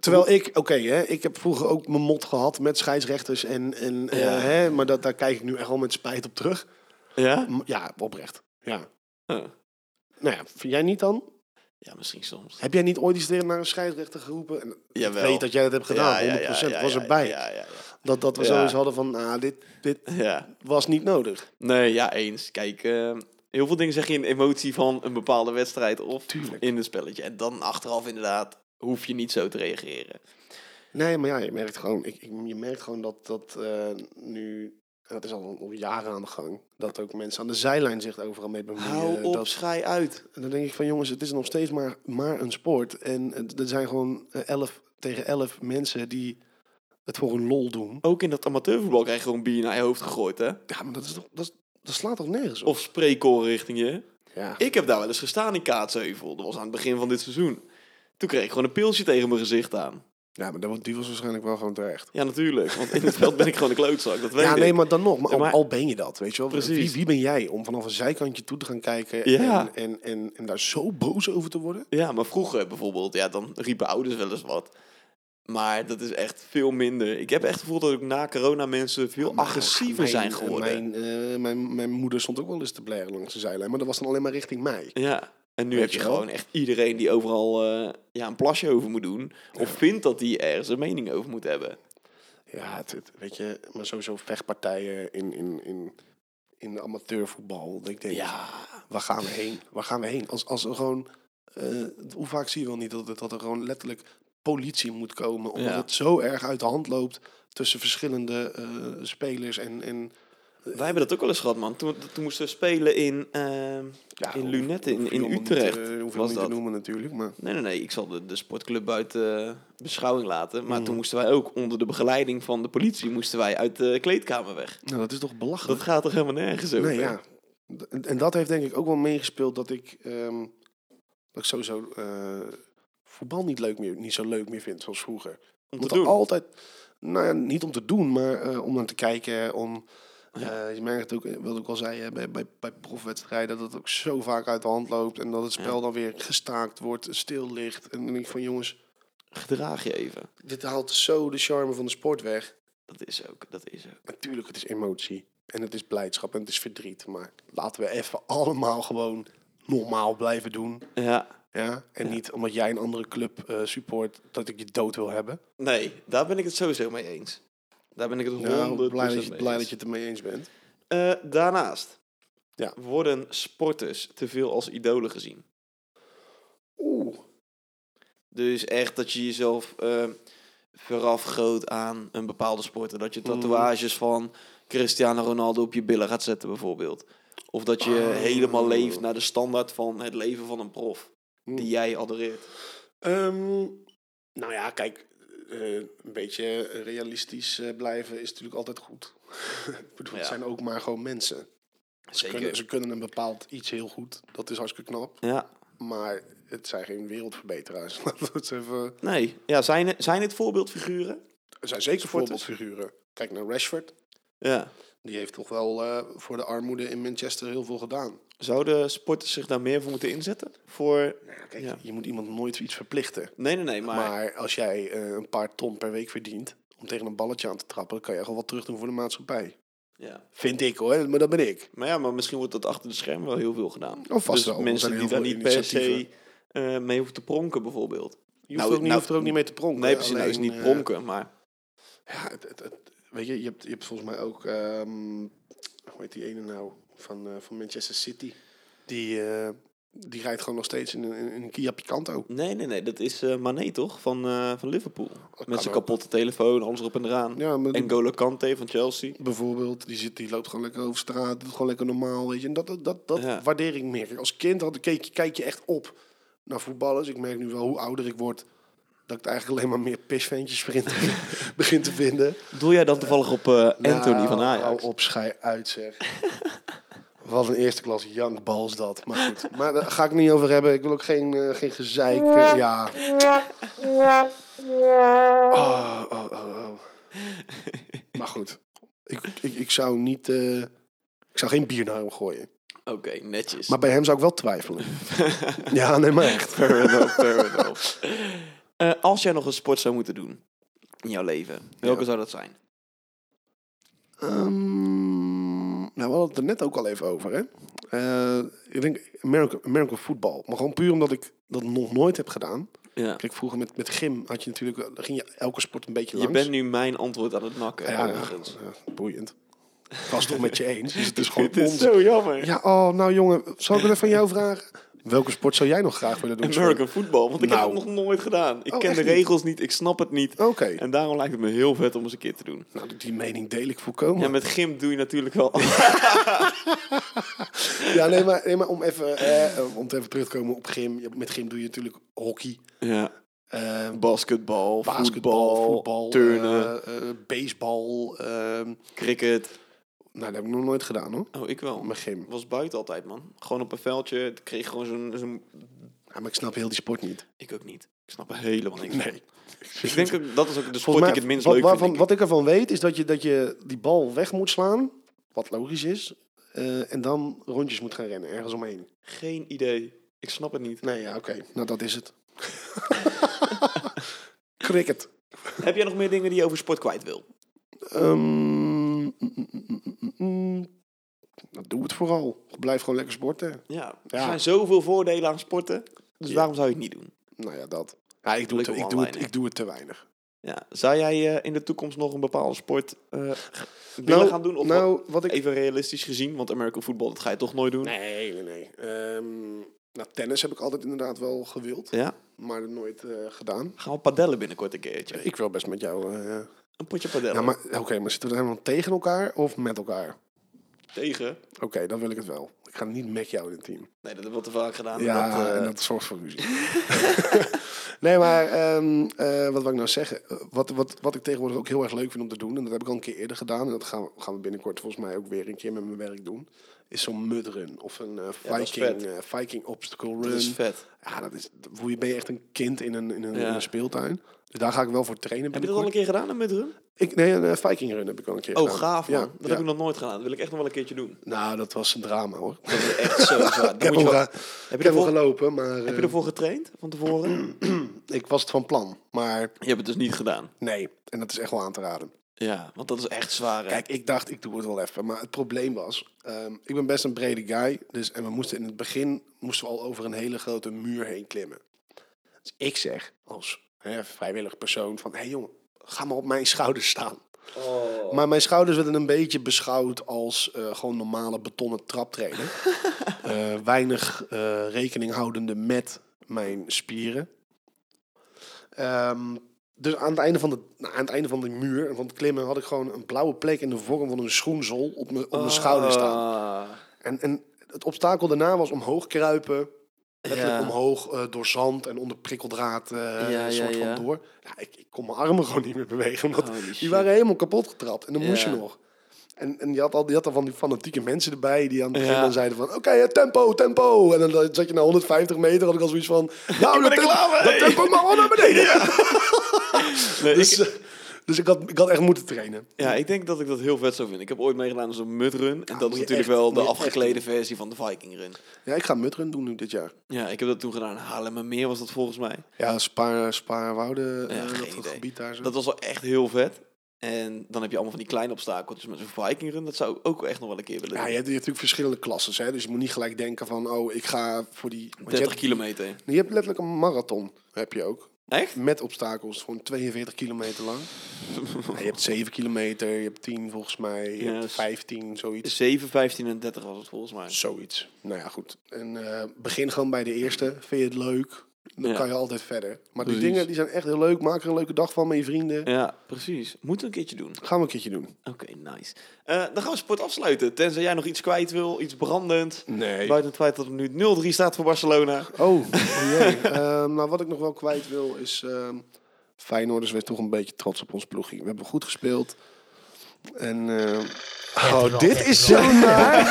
S2: Terwijl ik, oké, hè, ik heb vroeger ook mijn mot gehad met scheidsrechters. En, en, eh,
S1: Ja.
S2: hè, maar dat, daar kijk ik nu echt al met spijt op terug.
S1: Ja?
S2: M- Ja, oprecht. Ja.
S1: Huh.
S2: Nou ja, vind jij niet dan?
S1: Ja, misschien soms.
S2: Heb jij niet ooit iets tegen naar een scheidsrechter geroepen? En
S1: Jawel.
S2: Ik weet dat jij dat hebt gedaan, 100%. was erbij.
S1: Ja, ja, ja.
S2: Dat, dat we
S1: Ja.
S2: zoiets hadden van, ah, dit, dit
S1: Ja.
S2: was niet nodig.
S1: Nee, ja, eens. Kijk, eh, heel veel dingen zeg je in emotie van een bepaalde wedstrijd of
S2: Tuurlijk.
S1: in een spelletje. En dan achteraf inderdaad hoef je niet zo te reageren.
S2: Nee, maar ja, je merkt gewoon, ik, ik- je merkt gewoon dat, dat eh, nu, en dat is al, al jaren aan de gang, dat ook mensen aan de zijlijn zich overal mee bemoeien.
S1: Hou op,
S2: eh, Dat,
S1: schij uit.
S2: en dan denk ik van, jongens, het is nog steeds maar, maar een sport. En het- er zijn gewoon eh, elf tegen elf mensen die het voor een lol doen.
S1: Ook in dat amateurvoetbal krijg je gewoon bier naar je hoofd gegooid, hè?
S2: Ja, maar dat, is toch, dat, is- dat slaat toch nergens op?
S1: Of spreekoren richting je.
S2: Ja.
S1: Ik heb daar wel eens gestaan in Kaatsheuvel. Dat was aan het begin van dit seizoen. Toen kreeg ik gewoon een pilsje tegen mijn gezicht aan.
S2: ja, maar dat, die was waarschijnlijk wel gewoon terecht.
S1: Ja, natuurlijk. Want in het veld ben ik gewoon een klootzak. Dat weet
S2: Ja, nee,
S1: ik.
S2: maar dan nog. Maar,
S1: Ja,
S2: al-
S1: maar-
S2: al, ben je dat, weet je wel.
S1: Precies.
S2: Wie, wie ben jij om vanaf een zijkantje toe te gaan kijken
S1: Ja.
S2: en, en, en, en daar zo boos over te worden?
S1: Ja, maar vroeger bijvoorbeeld, ja, dan riepen ouders wel eens wat. Maar dat is echt veel minder. Ik heb echt het gevoel dat ook na corona mensen veel agressiever
S2: Nou, Mijn-
S1: zijn geworden.
S2: Mijn, eh, mijn, mijn moeder stond ook wel eens te blaren langs de zijlijn, maar dat was dan alleen maar richting mij.
S1: Ja, en nu
S2: Weet
S1: heb je
S2: je wel?
S1: gewoon echt iedereen die overal eh, ja, een plasje over moet doen. Of vindt dat die ergens een mening over moet hebben.
S2: Ja, het, het- weet je, maar sowieso vechtpartijen in, in, in, in de amateurvoetbal. Dat ik denk,
S1: Ja,
S2: waar gaan we heen? Waar gaan we heen? Als, als er gewoon, eh, hoe vaak zie je wel niet dat, het- dat er gewoon letterlijk politie moet komen. Omdat
S1: Ja.
S2: het zo erg uit de hand loopt tussen verschillende eh, spelers. En, en,
S1: wij hebben dat ook wel eens gehad, man. Toen, toen moesten we spelen in, eh,
S2: ja,
S1: in
S2: hoe-
S1: Lunette, in,
S2: hoef je
S1: in
S2: allemaal niet,
S1: Utrecht.
S2: eh, hoef
S1: was
S2: je allemaal niet te
S1: dat.
S2: noemen natuurlijk, maar...
S1: Nee, nee, nee. Ik zal de, de sportclub buiten eh, beschouwing laten. Maar
S2: Mhm.
S1: toen moesten wij ook onder de begeleiding van de politie moesten wij uit de kleedkamer weg.
S2: Nou, dat is toch belachelijk?
S1: Dat gaat toch helemaal nergens over?
S2: Nee, ja. D- En, en dat heeft denk ik ook wel meegespeeld dat ik, ehm, dat ik sowieso eh, voetbal niet, leuk meer, niet zo leuk meer vind zoals vroeger.
S1: Om te
S2: Omdat er
S1: doen.
S2: altijd, nou ja, niet om te doen, maar eh, om naar te kijken, om... eh, je merkt ook, eh, wat ik al zei, eh, bij, bij, bij profwedstrijden, dat het ook zo vaak uit de hand loopt. En dat het spel dan weer gestaakt wordt, stil ligt. En dan denk ik van, jongens,
S1: Gedraag je even.
S2: dit haalt zo de charme van de sport weg.
S1: Dat is ook, dat is ook.
S2: Natuurlijk, het is emotie. En het is blijdschap en het is verdriet. Maar laten we even allemaal gewoon normaal blijven doen.
S1: Ja.
S2: Ja? En niet omdat jij een andere club eh, support, dat ik je dood wil hebben.
S1: Nee, daar ben ik het sowieso mee eens. Daar ben ik het 100%
S2: Nou, blij dat,
S1: mee
S2: je, blij
S1: eens.
S2: dat je het ermee eens bent.
S1: Eh, daarnaast
S2: Ja.
S1: worden sporters te veel als idolen gezien.
S2: Oeh.
S1: Dus echt dat je jezelf eh verafgroot aan een bepaalde sporter. Dat je
S2: Mm.
S1: tatoeages van Cristiano Ronaldo op je billen gaat zetten bijvoorbeeld. Of dat je
S2: Oh.
S1: helemaal leeft naar de standaard van het leven van een prof.
S2: Mm.
S1: Die jij adoreert.
S2: Ehm, nou ja, kijk, eh, een beetje realistisch eh, blijven is natuurlijk altijd goed. ik bedoel,
S1: Ja.
S2: het zijn ook maar gewoon mensen. Ze
S1: Zeker.
S2: kunnen, ze kunnen een bepaald iets heel goed. Dat is hartstikke knap.
S1: Ja.
S2: Maar het zijn geen wereldverbeteraars. Laten we het even...
S1: Nee. Ja, zijn, het- zijn het voorbeeldfiguren?
S2: Er zijn zeker
S1: Supporters.
S2: voorbeeldfiguren. Kijk naar Rashford.
S1: Ja.
S2: Die heeft toch wel eh, voor de armoede in Manchester heel veel gedaan.
S1: Zouden sporters zich daar meer voor moeten inzetten? Voor...
S2: Kijk,
S1: Ja.
S2: je moet iemand nooit iets verplichten.
S1: Nee, nee, nee. Maar,
S2: Maar, als jij eh, een paar ton per week verdient om tegen een balletje aan te trappen, dan kan je gewoon wat terug doen voor de maatschappij.
S1: Ja.
S2: Vind ik hoor, maar dat ben ik.
S1: maar ja, maar misschien wordt dat achter de schermen wel heel veel gedaan.
S2: Oh,
S1: dus
S2: vast wel. Er zijn
S1: mensen
S2: heel
S1: die daar
S2: veel
S1: niet per se
S2: initiatieven.
S1: eh, mee hoeven te pronken bijvoorbeeld.
S2: Je hoeft,
S1: Nou,
S2: er ook, niet-
S1: nou,
S2: hoeft er ook niet mee te pronken.
S1: Nee, precies. nou
S2: Alleen,
S1: is niet
S2: eh,
S1: pronken, maar...
S2: ja, het, het- het- weet je, je hebt, je hebt volgens mij ook, ehm, hoe heet die ene nou, van, eh, van Manchester City. Die, eh, die rijdt gewoon nog steeds in een, in een Kia Picanto.
S1: Nee, nee, nee. Dat is eh Mané, toch? Van, eh, van Liverpool.
S2: Oh, kan
S1: Met zijn
S2: ook.
S1: kapotte telefoon, alles erop en eraan.
S2: Ja, maar die-
S1: En Golo Kante van Chelsea.
S2: bijvoorbeeld. Die, zit, die loopt gewoon lekker over straat, doet gewoon lekker normaal, weet je. En dat, dat, dat, dat
S1: Ja.
S2: waardeer ik meer. Kijk, als kind had, keek, kijk je echt op naar voetballers. Ik merk nu wel hoe ouder ik word, dat ik het eigenlijk alleen maar meer pisventjes begin, te- begin te vinden.
S1: Doe jij dan toevallig op eh, Anthony
S2: Nou,
S1: van Ajax?
S2: Hou op, schij uit zeg. Wat een eerste klas jankbal is dat. Maar goed, maar daar ga ik het niet over hebben. Ik wil ook geen, eh, geen gezeik. eh, ja. Oh, oh, oh, oh. Maar goed, ik, ik, ik zou niet... eh, ik zou geen bier naar hem gooien.
S1: Oké, netjes.
S2: Maar bij hem zou ik wel twijfelen. ja, nee, maar echt.
S1: Fair enough, fair enough. Eh, als jij nog een sport zou moeten doen in jouw leven, welke zou dat zijn?
S2: Ehm, nou, we hadden het er net ook al even over, hè? Eh, ik denk American, American football. Maar gewoon puur omdat ik dat nog nooit heb gedaan.
S1: Ja.
S2: Kijk, vroeger met, met gym had je natuurlijk... dan ging je elke sport een beetje
S1: Je
S2: langs.
S1: bent nu mijn antwoord aan het nakken.
S2: Ja, ja,
S1: overigens.
S2: ja, boeiend. Ik was het toch met je eens. Dus het is gewoon
S1: Dit is
S2: onzin.
S1: zo jammer.
S2: Ja, oh, nou jongen, zal ik het even van jou vragen? Welke sport zou jij nog graag willen doen?
S1: American voetbal, want ik
S2: Nou.
S1: heb het nog nooit gedaan. Ik
S2: Oh,
S1: ken
S2: echt
S1: de
S2: niet?
S1: regels niet, ik snap het niet.
S2: Oké,
S1: En daarom lijkt het me heel vet om eens een keer te doen.
S2: nou, die mening deel ik volkomen.
S1: Ja, met gym doe je natuurlijk wel
S2: Ja, nee, maar, nee, maar om, even, eh, om te even terug te komen op gym. Ja, Met gym doe je natuurlijk hockey.
S1: Ja,
S2: eh,
S1: Basketbal,
S2: basketbal,
S1: voetbal,
S2: voetbal,
S1: turnen,
S2: eh, eh, baseball. ehm,
S1: cricket.
S2: nou, dat heb ik nog nooit gedaan hoor.
S1: Oh, ik wel.
S2: Mijn gym.
S1: was buiten altijd, man. Gewoon op een veldje. Ik kreeg gewoon zo'n... zo'n-
S2: Ja, maar ik snap heel die sport niet.
S1: Ik ook niet. Ik snap er helemaal niks van.
S2: Nee.
S1: Ik denk ook, dat is ook de sport
S2: Dus Volgens
S1: die
S2: mij,
S1: ik het minst
S2: wat,
S1: leuk
S2: waarvan,
S1: vind. denk
S2: Wat ik ervan weet, is dat je, dat je die bal weg moet slaan. Wat logisch is. eh, en dan rondjes moet gaan rennen, ergens omheen.
S1: ik. Geen idee. Ik snap het niet.
S2: Nee, ja, oké. Nou, dat is het. Cricket.
S1: Heb jij nog meer dingen die je over sport kwijt wil?
S2: Ehm, mm, mm, mm, mm, mm. Nou, doe het vooral. Blijf gewoon lekker sporten.
S1: Ja. Er
S2: Ja.
S1: zijn zoveel voordelen aan sporten. Dus
S2: Ja.
S1: waarom zou je het niet doen?
S2: Nou ja, dat. Ja, ik, doe het,
S1: Gelukkig
S2: ik, doe het,
S1: online, hè?
S2: ik doe het te weinig.
S1: Ja. Zou jij eh, in de toekomst nog een bepaalde sport eh, willen
S2: Nou,
S1: gaan doen? Of
S2: nou, wat
S1: wat-
S2: ik...
S1: even realistisch gezien, want American football, dat ga je toch nooit doen?
S2: Nee, nee, nee. Ehm, nou, tennis heb ik altijd inderdaad wel gewild.
S1: Ja.
S2: Maar dat nooit eh, gedaan.
S1: Gaan we padellen binnenkort een keertje?
S2: Ik wil best met jou... eh,
S1: Een potje padellen.
S2: Ja, maar oké, maar zitten we dan helemaal tegen elkaar of met elkaar?
S1: Tegen?
S2: Oké, dan wil ik het wel. Ik ga niet met jou in het team.
S1: Nee, dat hebben we te vaak gedaan.
S2: Ja,
S1: Dat, eh,
S2: en dat zorgt voor ruzie. nee, maar ehm, eh, wat wil ik nou zeggen? Eh, Wat, wat, wat ik tegenwoordig ook heel erg leuk vind om te doen, en dat heb ik al een keer eerder gedaan, en dat gaan we, gaan we binnenkort volgens mij ook weer een keer met mijn werk doen, is zo'n mudrun of een eh,
S1: dat is
S2: Viking,
S1: vet.
S2: eh, Viking obstacle run.
S1: dat is vet.
S2: Ja, dat is, hoe je ben je echt een kind in een, in een,
S1: Ja.
S2: in een speeltuin. Dus daar ga ik wel voor trainen.
S1: Heb je dat al een
S2: binnenkort.
S1: keer gedaan hè, met hun?
S2: Ik, nee, een eh, Viking run heb ik al een keer
S1: Oh,
S2: gedaan.
S1: gaaf man.
S2: Ja,
S1: dat
S2: ja.
S1: heb ik nog nooit gedaan. Dat wil ik echt nog wel een keertje doen.
S2: Nou, dat was een drama hoor.
S1: Dat is echt zo zwaar.
S2: Ik heb, hem,
S1: wel...
S2: ge-
S1: heb,
S2: ik
S1: je
S2: heb hem
S1: ervoor...
S2: gelopen, maar
S1: heb je
S2: eh,
S1: ervoor getraind van tevoren?
S2: ik was het van plan. Maar
S1: je hebt het dus niet gedaan.
S2: nee, en dat is echt wel aan te raden.
S1: Ja, want dat is echt zwaar. hè?
S2: Kijk, ik dacht, ik doe het wel even. Maar het probleem was, ehm, ik ben best een brede guy. Dus, en we moesten in het begin moesten we al over een hele grote muur heen klimmen. Dus ik zeg als hè, vrijwillig persoon van... Hé hey, jongen, ga maar op mijn schouders staan.
S1: Oh.
S2: Maar mijn schouders werden een beetje beschouwd als eh, gewoon normale betonnen traptreden. Eh, weinig eh, rekening houdende met mijn spieren. Ehm, dus aan het, einde van de, nou, aan het einde van de muur en van het klimmen had ik gewoon een blauwe plek in de vorm van een schoenzol op mijn, op mijn schouder staan.
S1: Ah.
S2: En, en het obstakel daarna was omhoog kruipen. Letterlijk
S1: Ja.
S2: omhoog eh, door zand en onder prikkeldraad eh,
S1: ja,
S2: een soort
S1: ja.
S2: van door. Ja, ik, ik kon mijn armen gewoon niet meer bewegen. Omdat
S1: Holy shit.
S2: die waren helemaal kapot getrapt. En dan moest je
S1: Ja.
S2: nog. En, en je had al, je had al van die fanatieke mensen erbij die aan het begin
S1: Ja.
S2: dan zeiden van... Oké, eh, tempo, tempo. En dan zat je na 150 meter, had ik al zoiets van... Nou, dat,
S1: er
S2: tem-
S1: klaar mee.
S2: dat tempo mag wel naar beneden.
S1: Nee, ik-
S2: Dus, eh, dus ik, had, ik had echt moeten trainen.
S1: Ja, ik denk dat ik dat heel vet zou vinden. Ik heb ooit meegedaan aan zo'n mudrun. En dat
S2: moet
S1: is
S2: je
S1: natuurlijk
S2: echt-
S1: wel de
S2: moet je echt
S1: afgeklede versie van de Viking Run.
S2: Ja, ik ga mudrun doen nu dit jaar.
S1: Ja, ik heb dat toen gedaan. in Haarlemmermeer was dat volgens mij.
S2: Ja, Spaar, Spaarwouden,
S1: Ja,
S2: eh,
S1: geen
S2: dat
S1: idee.
S2: gebied daar zo.
S1: Dat was wel echt heel vet. En dan heb je allemaal van die kleine obstakeltjes met zo'n Viking Run. Dat zou ik ook echt nog wel een keer willen
S2: Ja,
S1: doen.
S2: je hebt, je hebt natuurlijk verschillende klasses, hè? dus je moet niet gelijk denken van, oh, ik ga voor die... want je
S1: 30
S2: hebt,
S1: kilometer.
S2: je hebt letterlijk een marathon, heb je ook.
S1: Echt?
S2: Met obstakels, gewoon 42 kilometer lang. Ja, je hebt 7 kilometer, je hebt 10 volgens mij, je
S1: Ja,
S2: hebt
S1: dus-
S2: 15, zoiets.
S1: 7, 15 en 30 was het volgens mij.
S2: Zoiets. Nou ja, goed. En eh, begin gewoon bij de eerste. Vind je het leuk? Dan
S1: Ja.
S2: kan je altijd verder. Maar die
S1: Precies.
S2: dingen die zijn echt heel leuk. Maak er een leuke dag van met je vrienden.
S1: Ja, precies. Moeten we een keertje doen.
S2: Gaan we een keertje doen.
S1: Oké, nice. Eh, dan gaan we sport afsluiten. Tenzij jij nog iets kwijt wil, iets brandend.
S2: Nee.
S1: Buiten het feit dat er nu 0-3 staat voor Barcelona.
S2: Oh, oh jee. Ehm, nou wat ik nog wel kwijt wil is... ehm Feyenoorders, wees toch een beetje trots op ons ploegje. We hebben goed gespeeld. En... ehm, oh, dit is zo naar.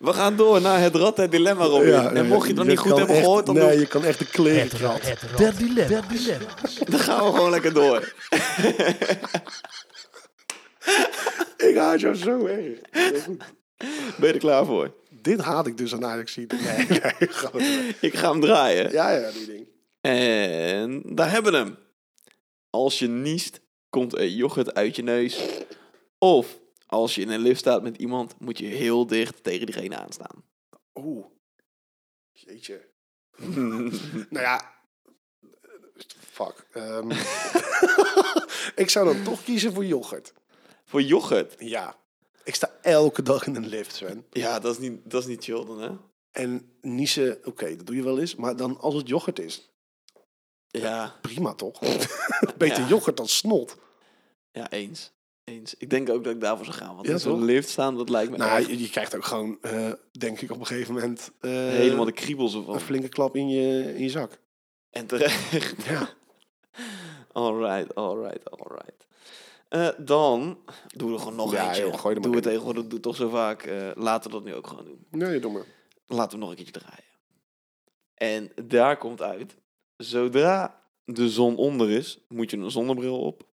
S1: We gaan door naar het rad, het dilemma, Robin. en mocht je het nog niet goed
S2: kan
S1: hebben
S2: echt-
S1: gehoord, dan,
S2: Nee,
S1: doen-
S2: je kan echt de kleren
S4: Het rad. Het rad. Der dilemma. Der dilemma.
S1: dan gaan we gewoon lekker door.
S2: Ik haat jou zo erg.
S1: Ben je er klaar voor?
S2: Dit haat ik dus aan Ajax zien. Nee, nee, gewoon.
S1: Ik ga hem draaien.
S2: Ja, ja, die ding.
S1: En daar hebben we hem. Als je niest, komt er yoghurt uit je neus. Of als je in een lift staat met iemand, moet je heel dicht tegen diegene aanstaan.
S2: Oeh. Jeetje. Nou ja. Fuck. Ehm, ik zou dan toch kiezen voor yoghurt.
S1: voor yoghurt.
S2: Ja. Ik sta elke dag in een lift, Sven.
S1: Ja, dat is niet, dat is niet chill dan, hè?
S2: En niezen, oké, dat doe je wel eens. Maar dan als het yoghurt is,
S1: Ja,
S2: prima toch? Beter
S1: Ja.
S2: yoghurt dan snot.
S1: ja eens. Eens. Ik denk ook dat ik daarvoor zou gaan. Want
S2: Ja,
S1: in zo'n
S2: toch?
S1: lift staan, dat lijkt me
S2: Nou,
S1: echt
S2: je, je krijgt ook gewoon, eh, denk ik, op een gegeven moment eh,
S1: helemaal de kriebels
S2: een
S1: ervan.
S2: flinke klap in je, in je zak.
S1: En terecht.
S2: Ja.
S1: Alright, alright, alright. Eh, dan doen we er gewoon nog
S2: Ja,
S1: eentje.
S2: joh, gooi er maar
S1: Doe het
S2: in.
S1: tegenwoordig, doe het toch zo vaak. eh, laten we dat nu ook gewoon doen.
S2: Nee, doe maar.
S1: Laten we nog een keertje draaien. En daar komt uit. Zodra de zon onder is, moet je een zonnebril op.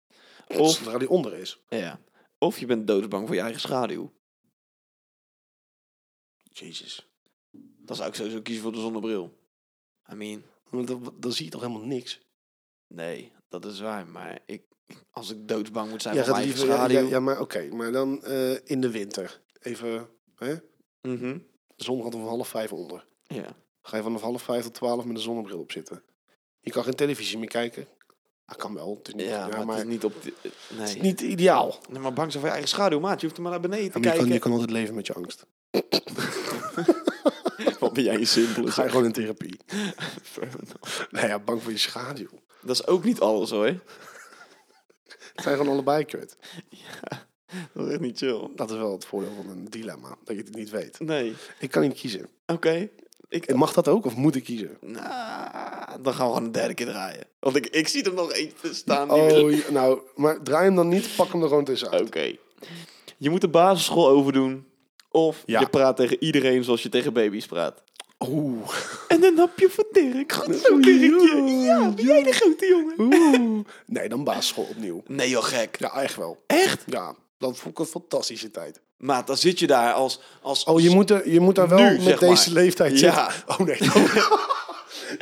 S1: Of,
S2: Zodra die onder is.
S1: ja, of je bent doodsbang voor je eigen schaduw.
S2: Jezus.
S1: Dan zou ik sowieso kiezen voor de zonnebril. I mean,
S2: Want Dan, dan zie je toch helemaal niks?
S1: nee, dat is waar. Maar ik, als ik doodsbang moet zijn
S2: Ja,
S1: voor
S2: gaat
S1: mijn eigen
S2: liever, ja,
S1: schaduw...
S2: ja, ja, maar oké. Maar dan eh, in de winter. Even, hè?
S1: Mhm,
S2: De zon gaat om half vijf onder.
S1: ja.
S2: Ga je vanaf half vijf tot twaalf met een zonnebril op zitten. Je kan geen televisie meer kijken. Dat kan wel. Het is niet,
S1: Ja,
S2: ja,
S1: maar, het is
S2: maar
S1: niet op... de- eh,
S2: het is
S1: nee.
S2: niet ideaal.
S1: Nee, maar bang zijn voor je eigen schaduw, maat. Je hoeft er maar naar beneden te
S2: Ja, maar je,
S1: kijken.
S2: kan, je kan altijd leven met je angst.
S1: Wat ben jij een simpele
S2: Ga je gewoon in therapie.
S1: zeg.
S2: Nou ja, bang voor je schaduw.
S1: Dat is ook niet alles, hoor.
S2: Het zijn gewoon allebei kut.
S1: Dat is echt niet chill.
S2: Dat is wel het voordeel van een dilemma. Dat je het niet weet.
S1: Nee.
S2: Ik kan niet kiezen.
S1: Oké. Ik...
S2: En Mag dat ook of moet ik kiezen?
S1: Nou, dan gaan we gewoon een derde keer draaien. Want ik, ik zie er nog eentje staan. die wil-
S2: Oh, ja, nou, maar draai hem dan niet. Pak hem er gewoon tussenuit.
S1: Oké. Je moet de basisschool overdoen. Of
S2: Ja.
S1: je praat tegen iedereen zoals je tegen baby's praat. dus
S2: Oeh.
S1: En dan heb je van Dirk. Goed zo, Dirkje. Ja, ben jij de grote jongen?
S2: Oeh. Nee, dan basisschool opnieuw.
S1: Nee joh, gek.
S2: Ja, echt wel.
S1: Echt?
S2: Ja, dat vond ik een fantastische tijd.
S1: Maat, dan zit je daar als... als
S2: Oh, je moet, er, je moet daar wel
S1: Dus Nu, zeg
S2: met deze
S1: maar.
S2: leeftijd
S1: Ja.
S2: zitten. Oh nee.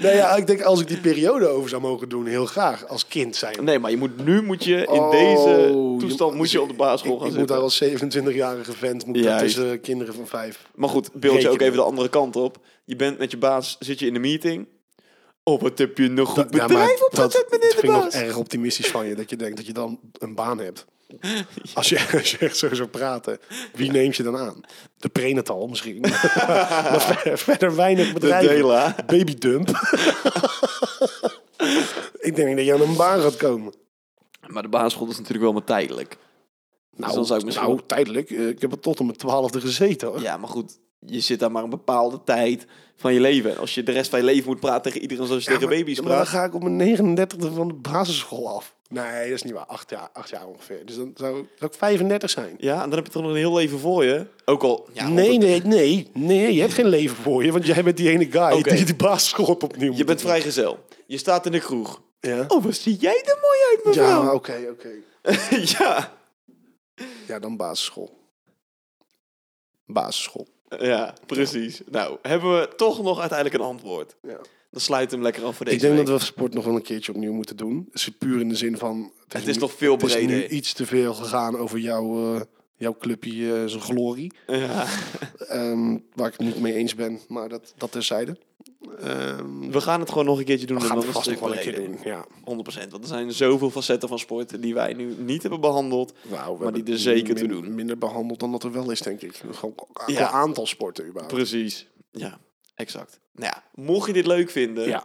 S2: nou ja, ik denk als ik die periode over zou mogen doen, heel graag. Als kind zijn.
S1: Nee, maar je moet, nu moet je in
S2: Oh,
S1: deze toestand moet je op de basisschool
S2: ik,
S1: gaan
S2: ik moet
S1: zitten.
S2: daar als 27-jarige vent moet ik daar
S1: Juist.
S2: tussen kinderen van vijf.
S1: Maar goed, beeld je ook
S2: Rekenen.
S1: even de andere kant op. Je bent met je baas, zit je in de meeting. Oh, wat heb je nog goed
S2: Ja, maar
S1: bedrijf opgezet,
S2: dat
S1: meneer de
S2: vind ik nog
S1: baas?
S2: erg optimistisch van je, dat je denkt dat je dan een baan hebt. Als, je, als je echt zo zou praten, wie neemt je dan aan? De prenatal misschien. maar verder, verder weinig bedrijven.
S1: Dela.
S2: Babydump. ik denk dat je aan een baan gaat komen.
S1: Dus Maar de basisschool is natuurlijk wel maar tijdelijk.
S2: Nou,
S1: dan zou ik misschien
S2: nou,
S1: wel-
S2: tijdelijk. eh, Ik heb er tot om mijn twaalfde gezeten hoor.
S1: Ja, maar goed, je zit daar maar een bepaalde tijd van je leven. En als je de rest van je leven moet praten tegen iedereen zoals je tegen
S2: maar-
S1: baby's
S2: Maar dan
S1: praat.
S2: ga ik op mijn 39e van de basisschool af. Nee, dat is niet waar. Acht jaar, acht jaar ongeveer. Dus dan zou, zou ik 35 zijn.
S1: Ja, en dan heb je toch nog een heel leven voor je. Ook al... Ja,
S2: nee,
S1: honderd-
S2: nee, nee, nee. Je hebt geen leven voor je, want jij bent die ene guy
S1: Oké.
S2: die de basisschool op opnieuw
S1: Je
S2: moet
S1: bent
S2: doen.
S1: vrijgezel. Je staat in de kroeg.
S2: Ja,
S1: Oh, wat zie jij er mooi uit,
S2: ja oké,
S1: mevrouw.
S2: oké.
S1: Ja. ja.
S2: Ja, dan basisschool. Basisschool.
S1: precies. Nou, hebben we toch nog uiteindelijk een antwoord.
S2: Ja.
S1: Dan sluit hem lekker af voor deze
S2: Ik denk
S1: week.
S2: dat we sport nog wel een keertje opnieuw moeten doen. Dus puur in de zin van...
S1: Het is
S2: nu-
S1: nog veel
S2: het is nu
S1: breder.
S2: iets te veel gegaan over jouw, eh, jouw clubje, eh, zijn glorie.
S1: Ja.
S2: Ehm, waar ik het niet mee eens ben, maar dat, dat terzijde. Ehm
S1: We gaan het gewoon nog een keertje doen.
S2: we
S1: en
S2: gaan
S1: dan
S2: het
S1: een
S2: vast nog
S1: stuk
S2: wel een keer
S1: breder.
S2: doen. Ja.
S1: 100%. Want er zijn zoveel facetten van sport die wij nu niet hebben behandeld.
S2: Nou, we
S1: maar die
S2: hebben
S1: er zeker
S2: min-
S1: te doen.
S2: Minder behandeld dan dat er wel is, denk ik. Gewoon qua
S1: Ja.
S2: aantal sporten überhaupt.
S1: Precies. Ja, exact. Nou ja, mocht je dit leuk vinden,
S2: Ja.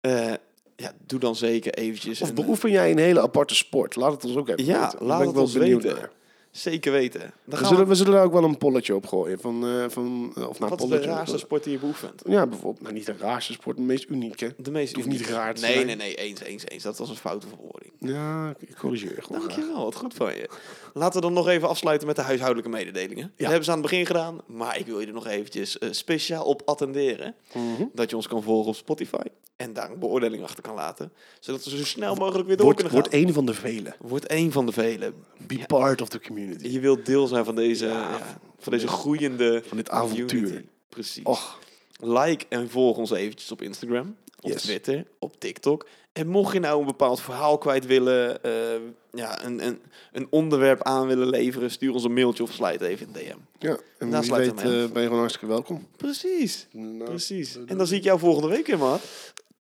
S1: eh, ja, doe dan zeker eventjes.
S2: Of
S1: en,
S2: beoefen jij een hele aparte sport? Laat het ons ook even
S1: Ja,
S2: weten. Daar
S1: laat
S2: ben
S1: het
S2: ik wel
S1: ons
S2: benieuwd
S1: weten.
S2: naar.
S1: eh, zeker weten. Dan
S2: We
S1: gaan we,
S2: zullen, we zullen daar ook wel een polletje op gooien. Van, eh, van, eh, of nou,
S1: wat is de
S2: polletje,
S1: raarste
S2: eh,
S1: sport die je beoefent?
S2: Ja, bijvoorbeeld. Nou, niet de raarste sport, de meest unieke.
S1: De meest
S2: hoeft niet
S1: unieke.
S2: raar te
S1: nee,
S2: zijn.
S1: Nee, nee, eens, eens, eens. Dat was een foute verwoording.
S2: Ja, ik corrigeer gewoon. graag.
S1: Dankjewel, wat goed van je. Laten we dan nog even afsluiten met de huishoudelijke mededelingen. Dat hebben ze aan het begin gedaan, maar ik wil je er nog eventjes eh, speciaal op attenderen.
S2: Mhm.
S1: Dat je ons kan volgen op Spotify en daar een beoordeling achter kan laten. Zodat we zo snel mogelijk weer door
S2: Word,
S1: kunnen
S2: word
S1: gaan.
S2: één van de velen.
S1: Wordt één van de velen.
S2: Be part of the community.
S1: Je wilt deel zijn van deze, ja, van deze groeiende... Van
S2: dit avontuur.
S1: Precies.
S2: Och,
S1: Like en volg ons eventjes op Instagram, op
S2: Yes.
S1: Twitter, op TikTok. En mocht je nou een bepaald verhaal kwijt willen, eh, ja, een, een, een onderwerp aan willen leveren, stuur ons een mailtje of slijt even een DM.
S2: ja. En
S1: Nou,
S2: wie
S1: sluit
S2: weet
S1: hem af.
S2: eh, ben je gewoon hartstikke welkom.
S1: Precies,
S2: Nou,
S1: precies. En dan zie ik jou volgende week weer, man.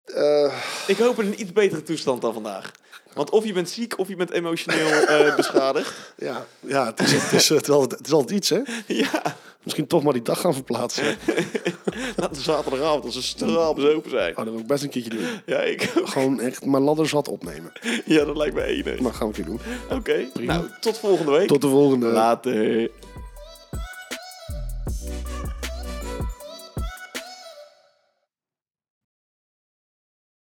S2: eh,
S1: Ik hoop in een iets betere toestand dan vandaag. Want of je bent ziek, of je bent emotioneel eh, beschadigd.
S2: ja, ja het, is, het, is, het, is altijd, het is altijd iets, hè?
S1: ja,
S2: Misschien toch maar die dag gaan verplaatsen. Oh,
S1: laten we zaterdagavond als ze straalbes open zijn.
S2: Oh, dat wil ik best een keertje doen.
S1: Ja, ik,
S2: Gewoon echt mijn ladder zat opnemen.
S1: ja, dat lijkt me enig.
S2: Maar gaan we een keer doen.
S1: Oké, nou, tot volgende week.
S2: Tot de volgende.
S1: Later.